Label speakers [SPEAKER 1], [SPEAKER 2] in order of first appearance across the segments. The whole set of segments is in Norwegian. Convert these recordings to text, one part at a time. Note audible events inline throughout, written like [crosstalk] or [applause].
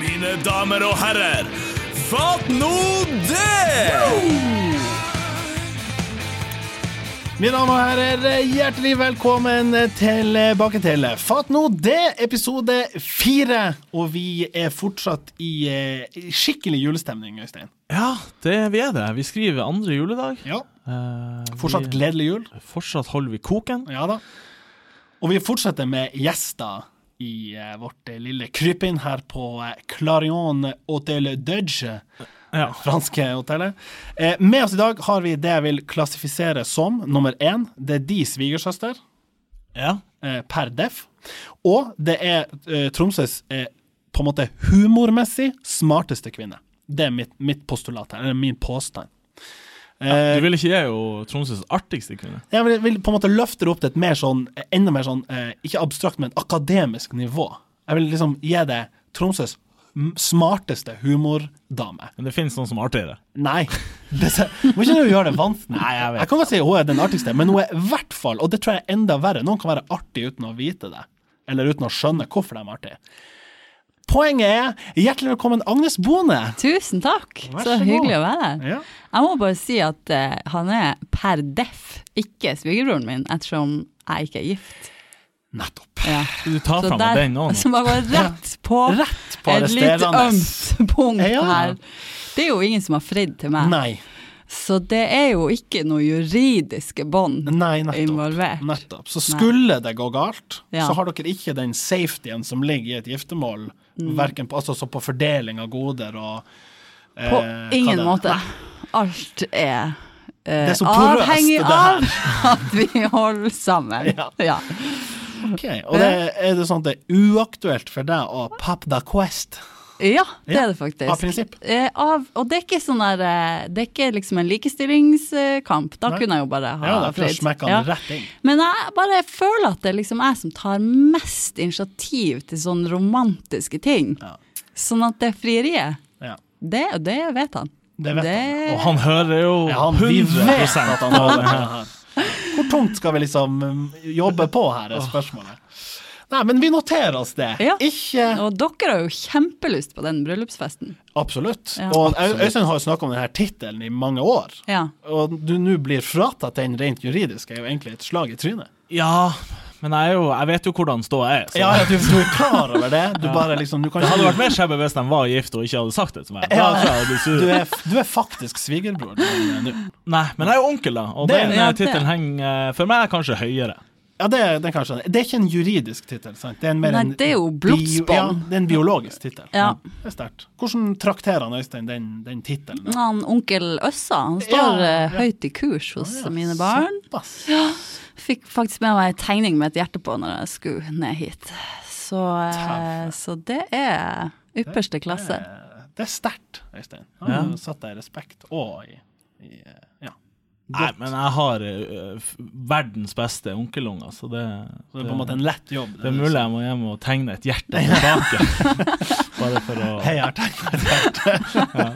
[SPEAKER 1] mine damer og herrer. Fatt nå det!
[SPEAKER 2] Mine damer og herrer, hjertelig velkommen tilbake til Fatt nå det, episode fire. Og vi er fortsatt i eh, skikkelig julestemning, Øystein.
[SPEAKER 3] Ja, det, vi er det. Vi skriver andre juledag.
[SPEAKER 2] Ja.
[SPEAKER 3] Eh,
[SPEAKER 2] Fortsatt gledelig jul.
[SPEAKER 3] vi, fortsatt holder vi koken.
[SPEAKER 2] Ja da. Og vi fortsetter med gjester i eh, vårt eh, lille krypinn her på eh, Clarion Hotel Dudge,
[SPEAKER 3] Ja.
[SPEAKER 2] franske hotellet. Eh, med oss i dag har vi det jeg vil klassifisere som nummer én. Det er de svigersøster
[SPEAKER 3] ja.
[SPEAKER 2] eh, per def. Og det er eh, Tromsøs eh, på en måte humormessig smarteste kvinne. Det er mitt, mitt postulat her, eller min påstand. Eh,
[SPEAKER 3] Du vil ikke jeg er jo Tromsøs artigste kvinne.
[SPEAKER 2] Jeg vil, vil på en måte løfte det opp til et mer sånn, enda mer sånn, eh, ikke abstrakt, men akademisk nivå. Jeg vil liksom gi det Tromsøs m- smarteste humordame.
[SPEAKER 3] Men det finnes noen som er artigere.
[SPEAKER 2] Nei, [laughs] det, ser- må ikke du gjøre det vanskelig. Nei, jeg, kan godt si hun er den artigste, men hun er i hvert fall, og det tror jeg er enda verre, noen kan være artig uten å vite det, eller uten å skjønne hvorfor de er artige. Poenget er, hjertelig velkommen Agnes Bone.
[SPEAKER 4] Tusen takk!
[SPEAKER 2] Vær
[SPEAKER 4] Så
[SPEAKER 2] så god.
[SPEAKER 4] hyggelig å være her.
[SPEAKER 2] Ja.
[SPEAKER 4] Jeg må bare si at eh, han er per def ikke svigerbroren min, ettersom jeg ikke er gift.
[SPEAKER 2] Nettopp.
[SPEAKER 4] Ja.
[SPEAKER 3] Du tar
[SPEAKER 4] Så
[SPEAKER 3] fra meg
[SPEAKER 4] der-
[SPEAKER 3] den nå. nå.
[SPEAKER 4] Som bare var rett på,
[SPEAKER 2] Rett på
[SPEAKER 4] et litt
[SPEAKER 2] arresterende.
[SPEAKER 4] ømt punkt
[SPEAKER 2] Ja.
[SPEAKER 4] her. Det er jo ingen som har fridd til meg,
[SPEAKER 2] Nei,
[SPEAKER 4] så det er jo ikke noe juridiske bånd
[SPEAKER 2] nei, nettopp.
[SPEAKER 4] involvert.
[SPEAKER 2] Nettopp. Så skulle det gå galt,
[SPEAKER 4] Ja.
[SPEAKER 2] så har dere ikke den safetyen som ligger i et giftermål, hverken på, altså, så på fordeling av goder og eh,
[SPEAKER 4] På
[SPEAKER 2] hva
[SPEAKER 4] ingen
[SPEAKER 2] det-
[SPEAKER 4] måte.
[SPEAKER 2] Nei,
[SPEAKER 4] Alt er eh,
[SPEAKER 2] Det er så porøst,
[SPEAKER 4] avhengig
[SPEAKER 2] det her.
[SPEAKER 4] av at vi holder sammen.
[SPEAKER 2] [laughs] Ja.
[SPEAKER 4] Ja.
[SPEAKER 2] ok. Og det, er det sånn at det er uaktuelt for deg å papp da quest?
[SPEAKER 4] Ja, det
[SPEAKER 2] Ja,
[SPEAKER 4] er det faktisk.
[SPEAKER 2] av prinsipp.
[SPEAKER 4] Eh, av, og det er ikke sånn der eh, Det er ikke liksom en likestillingskamp. Da
[SPEAKER 2] Nei.
[SPEAKER 4] kunne jeg jo bare ha
[SPEAKER 2] Ja, da kunne jeg
[SPEAKER 4] fritt.
[SPEAKER 2] smekka
[SPEAKER 4] Ja.
[SPEAKER 2] den rett inn.
[SPEAKER 4] Men jeg bare føler at det er liksom jeg som tar mest initiativ til sånne romantiske ting.
[SPEAKER 2] Ja.
[SPEAKER 4] Sånn at det frieriet,
[SPEAKER 2] Ja.
[SPEAKER 4] det, det vet han.
[SPEAKER 2] Det vet han.
[SPEAKER 3] Og han hører jo
[SPEAKER 2] Ja, han, vi vet at han har det her. [laughs] Hvor tungt skal vi liksom um, jobbe på her, er spørsmålet. Nei, men vi noterer oss det.
[SPEAKER 4] Ja.
[SPEAKER 2] Ikke
[SPEAKER 4] Og dere har jo kjempelyst på den bryllupsfesten.
[SPEAKER 2] Absolutt.
[SPEAKER 4] Ja.
[SPEAKER 2] Og Øy- Øystein har jo snakka om denne tittelen i mange år.
[SPEAKER 4] Ja.
[SPEAKER 2] Og du nå blir fratatt den rent juridisk, er jo egentlig et slag i trynet.
[SPEAKER 3] Ja, men jeg, er jo, jeg vet jo hvordan ståa er. Så.
[SPEAKER 2] Ja, ja, du, du er klar over det. Du bare liksom Du, kan,
[SPEAKER 3] Det hadde vært mer skjebbe hvis de var gift og ikke hadde sagt det til meg. Da tror
[SPEAKER 2] Ja.
[SPEAKER 3] jeg jeg hadde blitt sur.
[SPEAKER 2] du, er, du er faktisk svigerbror din eh, nå.
[SPEAKER 3] Nei, men jeg er jo onkel, da, og
[SPEAKER 2] Det-
[SPEAKER 3] den
[SPEAKER 4] ja,
[SPEAKER 3] ja,
[SPEAKER 4] det-
[SPEAKER 3] tittelen henger eh, for meg kanskje høyere.
[SPEAKER 2] Ja, det, er- det, er kanskje, det er ikke en juridisk tittel, sant? Det er en mer
[SPEAKER 4] Nei,
[SPEAKER 2] en
[SPEAKER 4] det er jo blodsbånd.
[SPEAKER 2] bio- Ja, det er en biologisk tittel. Mm.
[SPEAKER 4] Ja.
[SPEAKER 2] Det er sterkt. Hvordan trakterer han Øystein den, den tittelen? da?
[SPEAKER 4] Han onkel Øssa han
[SPEAKER 2] Ja,
[SPEAKER 4] står eh,
[SPEAKER 2] ja.
[SPEAKER 4] høyt i kurs hos
[SPEAKER 2] Ja,
[SPEAKER 4] mine barn.
[SPEAKER 2] Såpass.
[SPEAKER 4] Fikk faktisk med meg en tegning med et hjerte på når jeg skulle ned hit. Så, eh,
[SPEAKER 2] Tøffe.
[SPEAKER 4] så det er ypperste klasse.
[SPEAKER 2] Det, det er sterkt, Øystein. Han satt deg i respekt og i, i Ja.
[SPEAKER 3] Nei, men jeg har eh, f- verdens beste onkelunger, så det,
[SPEAKER 2] Så det er på en måte en lett jobb.
[SPEAKER 3] det er mulig jeg må hjem og tegne et [laughs] hjerte tilbake. Bare for å
[SPEAKER 2] Hei, jeg har tegnet et hjerte.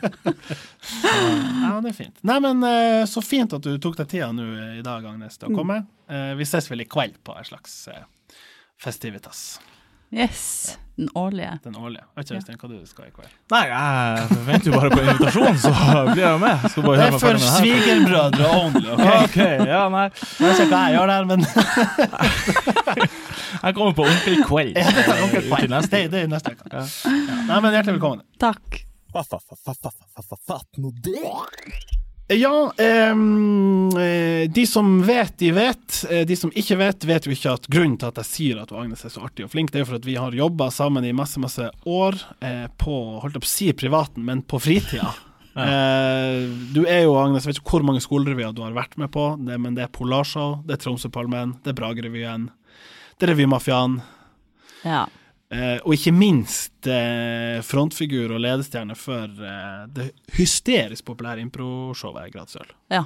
[SPEAKER 2] [laughs] Ja, men det er fint. Nei, men eh, så fint at du tok deg tida nå eh, i dag, Agnes,
[SPEAKER 4] Mm.
[SPEAKER 2] til å komme. Eh, Vi ses vel i kveld på en slags eh, festivitas,
[SPEAKER 4] Yes, den årlige.
[SPEAKER 2] den årlige. Jeg vet ikke, Øystein, hva du skal i kveld?
[SPEAKER 3] Nei, jeg venter jo bare på invitasjon, så blir jeg jo med. Skal bare høre
[SPEAKER 2] Det er
[SPEAKER 3] meg
[SPEAKER 2] for
[SPEAKER 3] ferdig med det her.
[SPEAKER 2] svigerbrødre only, OK?
[SPEAKER 3] Ok, ja, nei.
[SPEAKER 2] Jeg vet ikke hva jeg gjør der, [laughs] men
[SPEAKER 3] Jeg kommer på Onkel Kveld.
[SPEAKER 2] Ja, det er onkel
[SPEAKER 3] eh,
[SPEAKER 2] Svein.
[SPEAKER 3] til neste.
[SPEAKER 2] Det- det er neste uke. Ja. Nei, men hjertelig velkommen.
[SPEAKER 4] Takk.
[SPEAKER 2] Ja, ehm, eh, de som vet, de vet. Eh, De som ikke vet, vet jo ikke at grunnen til at jeg sier at Agnes er så artig og flink, det er jo for at vi har jobba sammen i masse, masse år eh, på holdt opp å si privaten, men på fritida. Eh, du er jo, Agnes, jeg vet ikke hvor mange skolerevyer du har vært med på, det, men det er Polarshow, det er Tromsøpalmen, det er Bragerevyen, det er Revymafiaen.
[SPEAKER 4] Ja.
[SPEAKER 2] Eh, og ikke minst eh, frontfigur og ledestjerne for eh, det hysterisk populære impro-showet Gradsøl.
[SPEAKER 4] ja.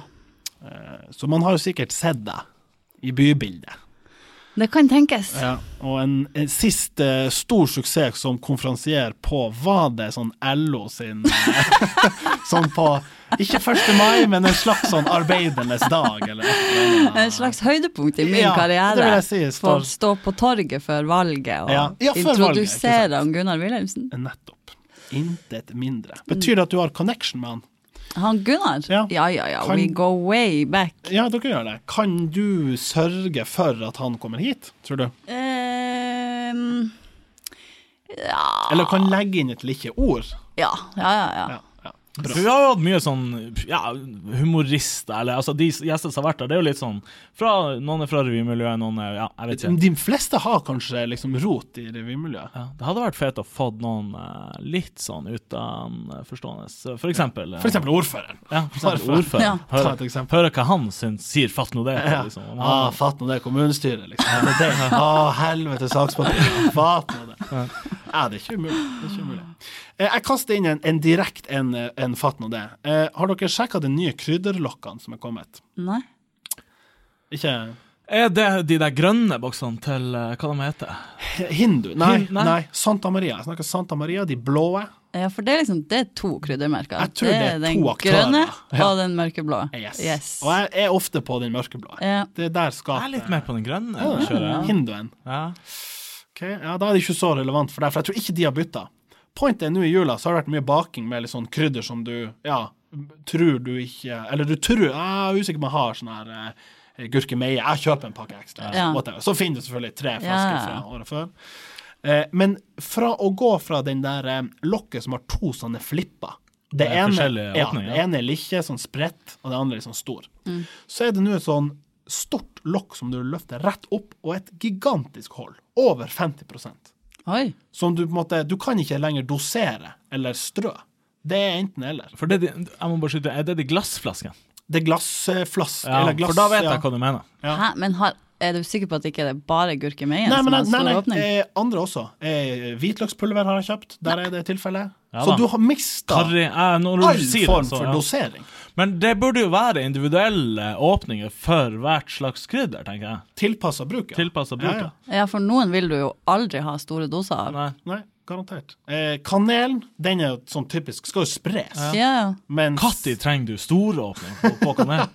[SPEAKER 2] Så man har jo sikkert sett deg i bybildet.
[SPEAKER 4] Det kan tenkes.
[SPEAKER 2] Og en, en sist eh, stor suksess som konferansier på, var det sånn LO sin eh, [laughs] Sånn på Ikke 1. mai, men en slags sånn arbeidernes dag, eller et eller annet.
[SPEAKER 4] En slags høydepunkt i min
[SPEAKER 2] Ja,
[SPEAKER 4] karriere.
[SPEAKER 2] det vil jeg si, står-
[SPEAKER 4] Få stå på torget før valget og
[SPEAKER 2] Ja. Ja, før valget, ikke
[SPEAKER 4] introdusere
[SPEAKER 2] sant.
[SPEAKER 4] om Gunnar Wilhelmsen.
[SPEAKER 2] Nettopp. intet mindre. Betyr det at du har connection med han?
[SPEAKER 4] Han Gunnar?
[SPEAKER 2] Ja.
[SPEAKER 4] Ja, ja, ja.
[SPEAKER 2] Kan-
[SPEAKER 4] We go way back.
[SPEAKER 2] Ja, dere gjør det. Kan du sørge for at han kommer hit, tror du?
[SPEAKER 4] Ehm,
[SPEAKER 2] Eller kan legge inn et lite ord?
[SPEAKER 4] ja, ja, ja. ja.
[SPEAKER 2] Ja, ja.
[SPEAKER 3] For vi
[SPEAKER 2] Bra.
[SPEAKER 3] har jo hatt mye sånn ja, humorister, eller altså de gjestene som har vært der, det er jo litt sånn fra, Noen er fra revymiljøet, noen er Ja, jeg vet ikke.
[SPEAKER 2] De fleste har kanskje liksom rot i revymiljøet.
[SPEAKER 3] Ja, det hadde vært fett å få noen eh, litt sånn utenforstående. Så For eksempel eh,
[SPEAKER 2] For eksempel ordføreren.
[SPEAKER 3] ja, [laughs] for eksempel
[SPEAKER 2] Ordfører.
[SPEAKER 3] ordfører.
[SPEAKER 4] Ja.
[SPEAKER 2] Ta et
[SPEAKER 3] Høre,
[SPEAKER 2] [laughs] eksempel.
[SPEAKER 3] høre hva han syns, sier 'fatt nå det'. Liksom. Om
[SPEAKER 2] Ah,
[SPEAKER 3] han-
[SPEAKER 2] fatt nå det, kommunestyret, liksom. Ja, det [laughs] er det. Ah, helvete, sakspapir. Fatt nå det. Ja, det er ikke umulig. Det er ikke umulig. Eh, Jeg kaster inn en, en direkte en, eh, en fatt nå det. Eh, har dere sjekka de nye krydderlokkene som er kommet?
[SPEAKER 4] Nei.
[SPEAKER 2] Ikke
[SPEAKER 3] Er det de der grønne boksene til eh, hva de heter?
[SPEAKER 2] Hindu? Nei,
[SPEAKER 3] Hin- nei.
[SPEAKER 2] nei. Santa Maria. Jeg snakker Santa Maria, de blå.
[SPEAKER 4] Ja, for det er liksom det er to kryddermerker.
[SPEAKER 2] Jeg tror det er
[SPEAKER 4] den
[SPEAKER 2] to aktører.
[SPEAKER 4] grønne
[SPEAKER 2] Ja.
[SPEAKER 4] og den mørkeblå.
[SPEAKER 2] Yes. Og jeg er ofte på den mørkeblå.
[SPEAKER 4] Ja.
[SPEAKER 2] Det er der
[SPEAKER 3] Jeg er
[SPEAKER 2] skapet
[SPEAKER 3] litt mer på den grønne. kjører
[SPEAKER 2] Ja,
[SPEAKER 3] jeg.
[SPEAKER 2] Hinduen.
[SPEAKER 3] Ja.
[SPEAKER 2] Ok, ja, Da er det ikke så relevant for deg, for jeg tror ikke de har bytta. Pointet er nå i jula så har det vært mye baking med litt sånn krydder som du ja, tror du ikke Eller du tror Jeg er usikker på om jeg har sånn her eh, gurkemeie. Jeg kjøper en pakke ekstra.
[SPEAKER 4] Ja.
[SPEAKER 2] whatever. Så finner du selvfølgelig tre flasker
[SPEAKER 4] Ja.
[SPEAKER 2] fra året før. Eh, men fra å gå fra den der eh, lokket som har to sånne flipper det,
[SPEAKER 3] er
[SPEAKER 2] ene,
[SPEAKER 3] forskjellige
[SPEAKER 2] ja,
[SPEAKER 3] åpninger.
[SPEAKER 2] det ene er litt sånn spredt, og det andre er litt sånn stor. Så er det nå et sånn stort lokk som du løfter rett opp, og et gigantisk hull. Over 50
[SPEAKER 4] Oi.
[SPEAKER 2] Som du på en måte Du kan ikke lenger dosere eller strø. Det er enten eller.
[SPEAKER 3] For det, de- jeg må bare skyte, er det de glassflaskene?
[SPEAKER 2] Det er glassflaske
[SPEAKER 3] Ja,
[SPEAKER 2] eller glass
[SPEAKER 3] for da vet
[SPEAKER 2] ja.
[SPEAKER 3] jeg hva du mener.
[SPEAKER 2] Ja.
[SPEAKER 4] Hæ? Men har, er du sikker på at ikke det er bare gurkemeien
[SPEAKER 2] Nei,
[SPEAKER 4] som
[SPEAKER 2] men
[SPEAKER 4] har
[SPEAKER 2] nei,
[SPEAKER 4] stor
[SPEAKER 2] nei,
[SPEAKER 4] åpning?
[SPEAKER 2] eh, andre også. Eh, hvitløkspulver har jeg kjøpt. Der er det tilfellet.
[SPEAKER 3] Ja
[SPEAKER 2] så
[SPEAKER 3] da.
[SPEAKER 2] du har mista
[SPEAKER 3] Harry, jeg, når du
[SPEAKER 2] all
[SPEAKER 3] sier det,
[SPEAKER 2] form
[SPEAKER 4] altså?
[SPEAKER 3] så,
[SPEAKER 2] for
[SPEAKER 3] ja.
[SPEAKER 2] dosering.
[SPEAKER 3] Men det burde jo være individuelle åpninger for hvert slags krydder, tenker jeg.
[SPEAKER 2] Tilpassa bruket.
[SPEAKER 3] Tilpassa bruket.
[SPEAKER 2] Ja, ja.
[SPEAKER 4] Ja, for noen vil du jo aldri ha store doser av.
[SPEAKER 3] Nei.
[SPEAKER 2] Nei, garantert. Eh, kanelen, den er jo sånn typisk, skal jo spres.
[SPEAKER 4] Ja, ja.
[SPEAKER 2] Men
[SPEAKER 3] Når trenger du store åpninger på, på kanel?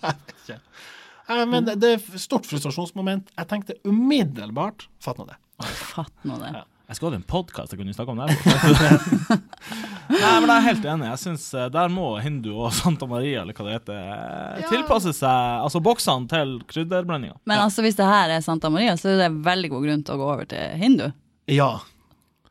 [SPEAKER 2] Eh, men det, det er stort frustrasjonsmoment. Jeg tenkte umiddelbart Fatt nå det.
[SPEAKER 4] Fatt nå det.
[SPEAKER 3] Jeg skulle hatt en podkast jeg kunne snakke om det. her. [laughs] Nei, men jeg er helt enig. Jeg synes eh, Der må Hindu og Santa Maria eller hva det heter, eh, tilpasse seg altså boksene til krydderblandinga.
[SPEAKER 4] Men altså, hvis det her er Santa Maria, så er det veldig god grunn til å gå over til hindu.
[SPEAKER 2] Ja.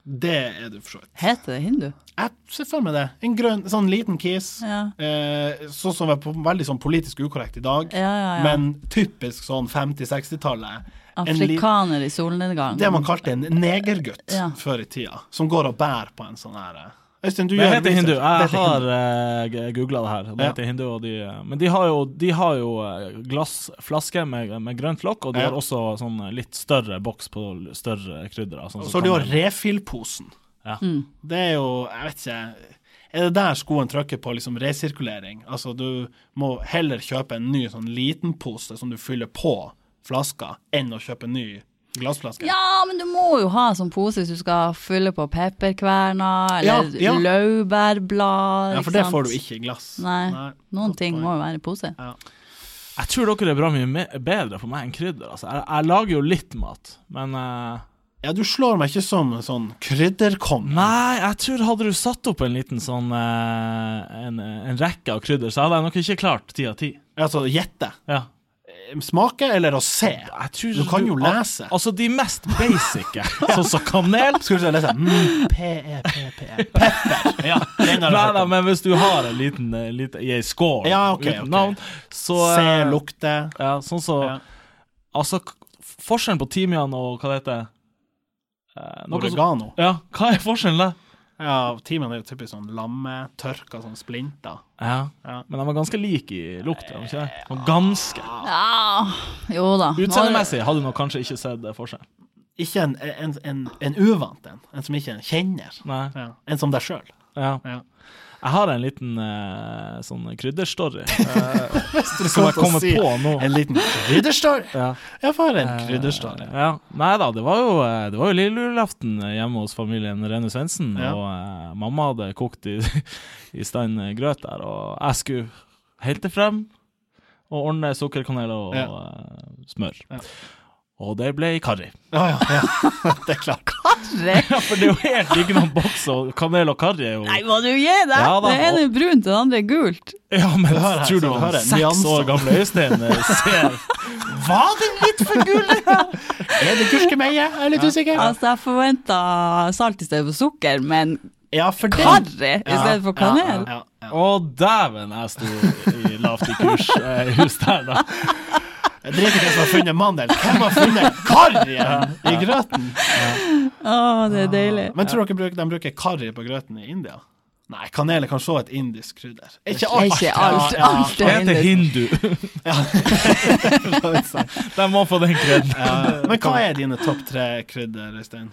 [SPEAKER 2] Det er du for så vidt.
[SPEAKER 4] Heter det hindu?
[SPEAKER 2] Jeg ser for meg det. En grønn, sånn liten kis.
[SPEAKER 4] Ja.
[SPEAKER 2] Eh, sånn som er på, veldig sånn politisk ukorrekt i dag,
[SPEAKER 4] Ja, ja, ja.
[SPEAKER 2] men typisk sånn 50-60-tallet. En li-
[SPEAKER 4] Afrikaner i solnedgang.
[SPEAKER 2] Det man kalte en negergutt
[SPEAKER 4] Ja.
[SPEAKER 2] før i tida, som går og bærer på en sånn her eh. Øystein, du
[SPEAKER 3] Det
[SPEAKER 2] gjør
[SPEAKER 3] heter
[SPEAKER 2] research.
[SPEAKER 3] hindu. Jeg
[SPEAKER 2] Det heter
[SPEAKER 3] har
[SPEAKER 2] hindu.
[SPEAKER 3] uh, googla det her. Det
[SPEAKER 2] Ja.
[SPEAKER 3] heter hindu, og de, eh, men de har jo, de har jo eh, glassflaske med, med grønt lokk, og de
[SPEAKER 2] Ja.
[SPEAKER 3] har også sånn litt større boks på l- større krydder. Sånn, som
[SPEAKER 2] Så har du jo
[SPEAKER 3] kanel.
[SPEAKER 2] refill-posen.
[SPEAKER 3] Ja.
[SPEAKER 2] Det er jo, jeg vet ikke Er det der skoen trykker på liksom resirkulering? Altså, du må heller kjøpe en ny sånn liten pose som du fyller på flaska, enn å kjøpe en ny glassflaske.
[SPEAKER 4] Ja, men du må jo ha sånn pose hvis du skal fylle på pepperkverna
[SPEAKER 2] Ja,
[SPEAKER 4] eller
[SPEAKER 2] ja.
[SPEAKER 4] laurbærblad.
[SPEAKER 2] Ja, for det får du ikke i glass.
[SPEAKER 4] Nei, noen
[SPEAKER 2] godt
[SPEAKER 4] ting
[SPEAKER 2] poeng.
[SPEAKER 4] må jo være i pose.
[SPEAKER 3] Jeg tror dere er bra mye me- bedre for meg enn krydder. Altså. Jeg, jeg lager jo litt mat, men eh,
[SPEAKER 2] Ja, du slår meg ikke som en sånn krydderkong.
[SPEAKER 3] Nei, jeg tror hadde du satt opp en liten sånn eh, en, en rekke av krydder, så hadde jeg nok ikke klart ti av ti.
[SPEAKER 2] Altså gjette.
[SPEAKER 3] Ja.
[SPEAKER 2] Smake eller å se?
[SPEAKER 3] Jeg tror
[SPEAKER 2] Du kan jo lese.
[SPEAKER 3] Al altså de mest
[SPEAKER 2] [laughs]
[SPEAKER 3] basice, sånn som kanel.
[SPEAKER 2] Skal du se lese? Mm, P-E-P-P-E. E. Pepper. Ja, den
[SPEAKER 3] Nei,
[SPEAKER 2] har jeg
[SPEAKER 3] nei,
[SPEAKER 2] hørt om.
[SPEAKER 3] men hvis du har en liten, eh, liten i ei skål
[SPEAKER 2] Ja, ok,
[SPEAKER 3] uten
[SPEAKER 2] ok.
[SPEAKER 3] navn, så
[SPEAKER 2] Se,
[SPEAKER 3] eh,
[SPEAKER 2] lukte.
[SPEAKER 3] Ja, sånn så
[SPEAKER 2] Ja.
[SPEAKER 3] Altså, k- forskjellen på timian og hva det heter eh, noe som-
[SPEAKER 2] Oregano.
[SPEAKER 3] Ja, hva er forskjellen der?
[SPEAKER 2] sånn- Ja, timen er jo typisk sånn lamme, tørka, sånn splinter.
[SPEAKER 3] Ja.
[SPEAKER 2] Ja.
[SPEAKER 3] Men de var ganske like i lukt. var de Ikke det? De var ganske.
[SPEAKER 4] Ja, jo
[SPEAKER 2] [laughs]
[SPEAKER 4] da.
[SPEAKER 3] Utseendemessig hadde du nok kanskje ikke sett det for seg.
[SPEAKER 2] Ikke en, en, en, en uvant en. En som ikke en kjenner.
[SPEAKER 3] Nei.
[SPEAKER 2] Ja. En som deg sjøl.
[SPEAKER 3] Ja.
[SPEAKER 2] Ja.
[SPEAKER 3] Jeg har en liten eh, sånn krydderstory
[SPEAKER 2] [laughs]
[SPEAKER 3] eh, som jeg kommer på nå.
[SPEAKER 2] En liten krydderstål.
[SPEAKER 3] Ja.
[SPEAKER 2] Ja, for en krydderstål.
[SPEAKER 3] Eh, Ja. Nei da, det var jo, eh, det var jo lille julaften hjemme hos familien Rene Svendsen.
[SPEAKER 2] Ja.
[SPEAKER 3] Og eh, mamma hadde kokt i, [laughs] i stand grøt der, og jeg skulle helte frem og ordne sukkerkanel og
[SPEAKER 2] Ja.
[SPEAKER 3] eh, smør.
[SPEAKER 2] Ja.
[SPEAKER 3] Og det ble karri.
[SPEAKER 2] Ja, ja, ja. Det er klart.
[SPEAKER 4] Karri!
[SPEAKER 3] Ja, for det er jo helt ikke noen boks, og kanel og karri er jo
[SPEAKER 4] Nei, må du gi deg!
[SPEAKER 3] Ja da.
[SPEAKER 4] det ene er brunt, og det andre er gult.
[SPEAKER 3] Ja, men
[SPEAKER 2] Hør her,
[SPEAKER 3] tror du
[SPEAKER 2] så
[SPEAKER 3] han
[SPEAKER 2] hører jeg
[SPEAKER 3] seks
[SPEAKER 2] nyanser.
[SPEAKER 3] år gamle Øystein eh, ser Var det litt for gull?
[SPEAKER 2] Er det gurskemeie? Jeg er litt usikker.
[SPEAKER 4] Altså, jeg forventa salt i stedet for sukker, men
[SPEAKER 2] Ja, for det-
[SPEAKER 4] karri i stedet for kanel?
[SPEAKER 2] Ja, ja,
[SPEAKER 3] Å, dæven, jeg sto i lavt i kurs eh, i hus der, da.
[SPEAKER 2] ja. Jeg driter i hvem som har funnet mandel. Hvem har funnet karrien i grøten?
[SPEAKER 4] Å, det er deilig.
[SPEAKER 2] Men tror dere bruk- de bruker karri på grøten i India? Nei, kanel er kanskje også et indisk krydder. Ikke
[SPEAKER 4] Det er
[SPEAKER 2] alt.
[SPEAKER 4] ikke alt.
[SPEAKER 2] Ja, ja.
[SPEAKER 3] [laughs]
[SPEAKER 4] alt
[SPEAKER 3] Det
[SPEAKER 4] er
[SPEAKER 3] heter
[SPEAKER 4] indisk.
[SPEAKER 3] [laughs] hindu. [laughs] De må få den kreden.
[SPEAKER 2] Ja. Men hva er dine topp tre krydder, Øystein?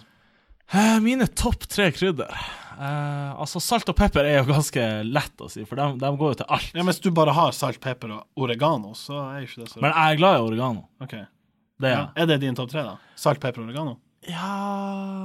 [SPEAKER 3] Eh, Mine topp tre krydder eh, Altså, salt og pepper er jo ganske lett å si, for de, de går jo til alt.
[SPEAKER 2] Ja, Hvis du bare har salt, pepper og oregano, så er jo ikke det så
[SPEAKER 3] Men jeg er glad i oregano.
[SPEAKER 2] Ok.
[SPEAKER 3] Det er
[SPEAKER 2] ja.
[SPEAKER 3] jeg.
[SPEAKER 2] Er det din topp tre, da? Salt, pepper og oregano?
[SPEAKER 3] Ja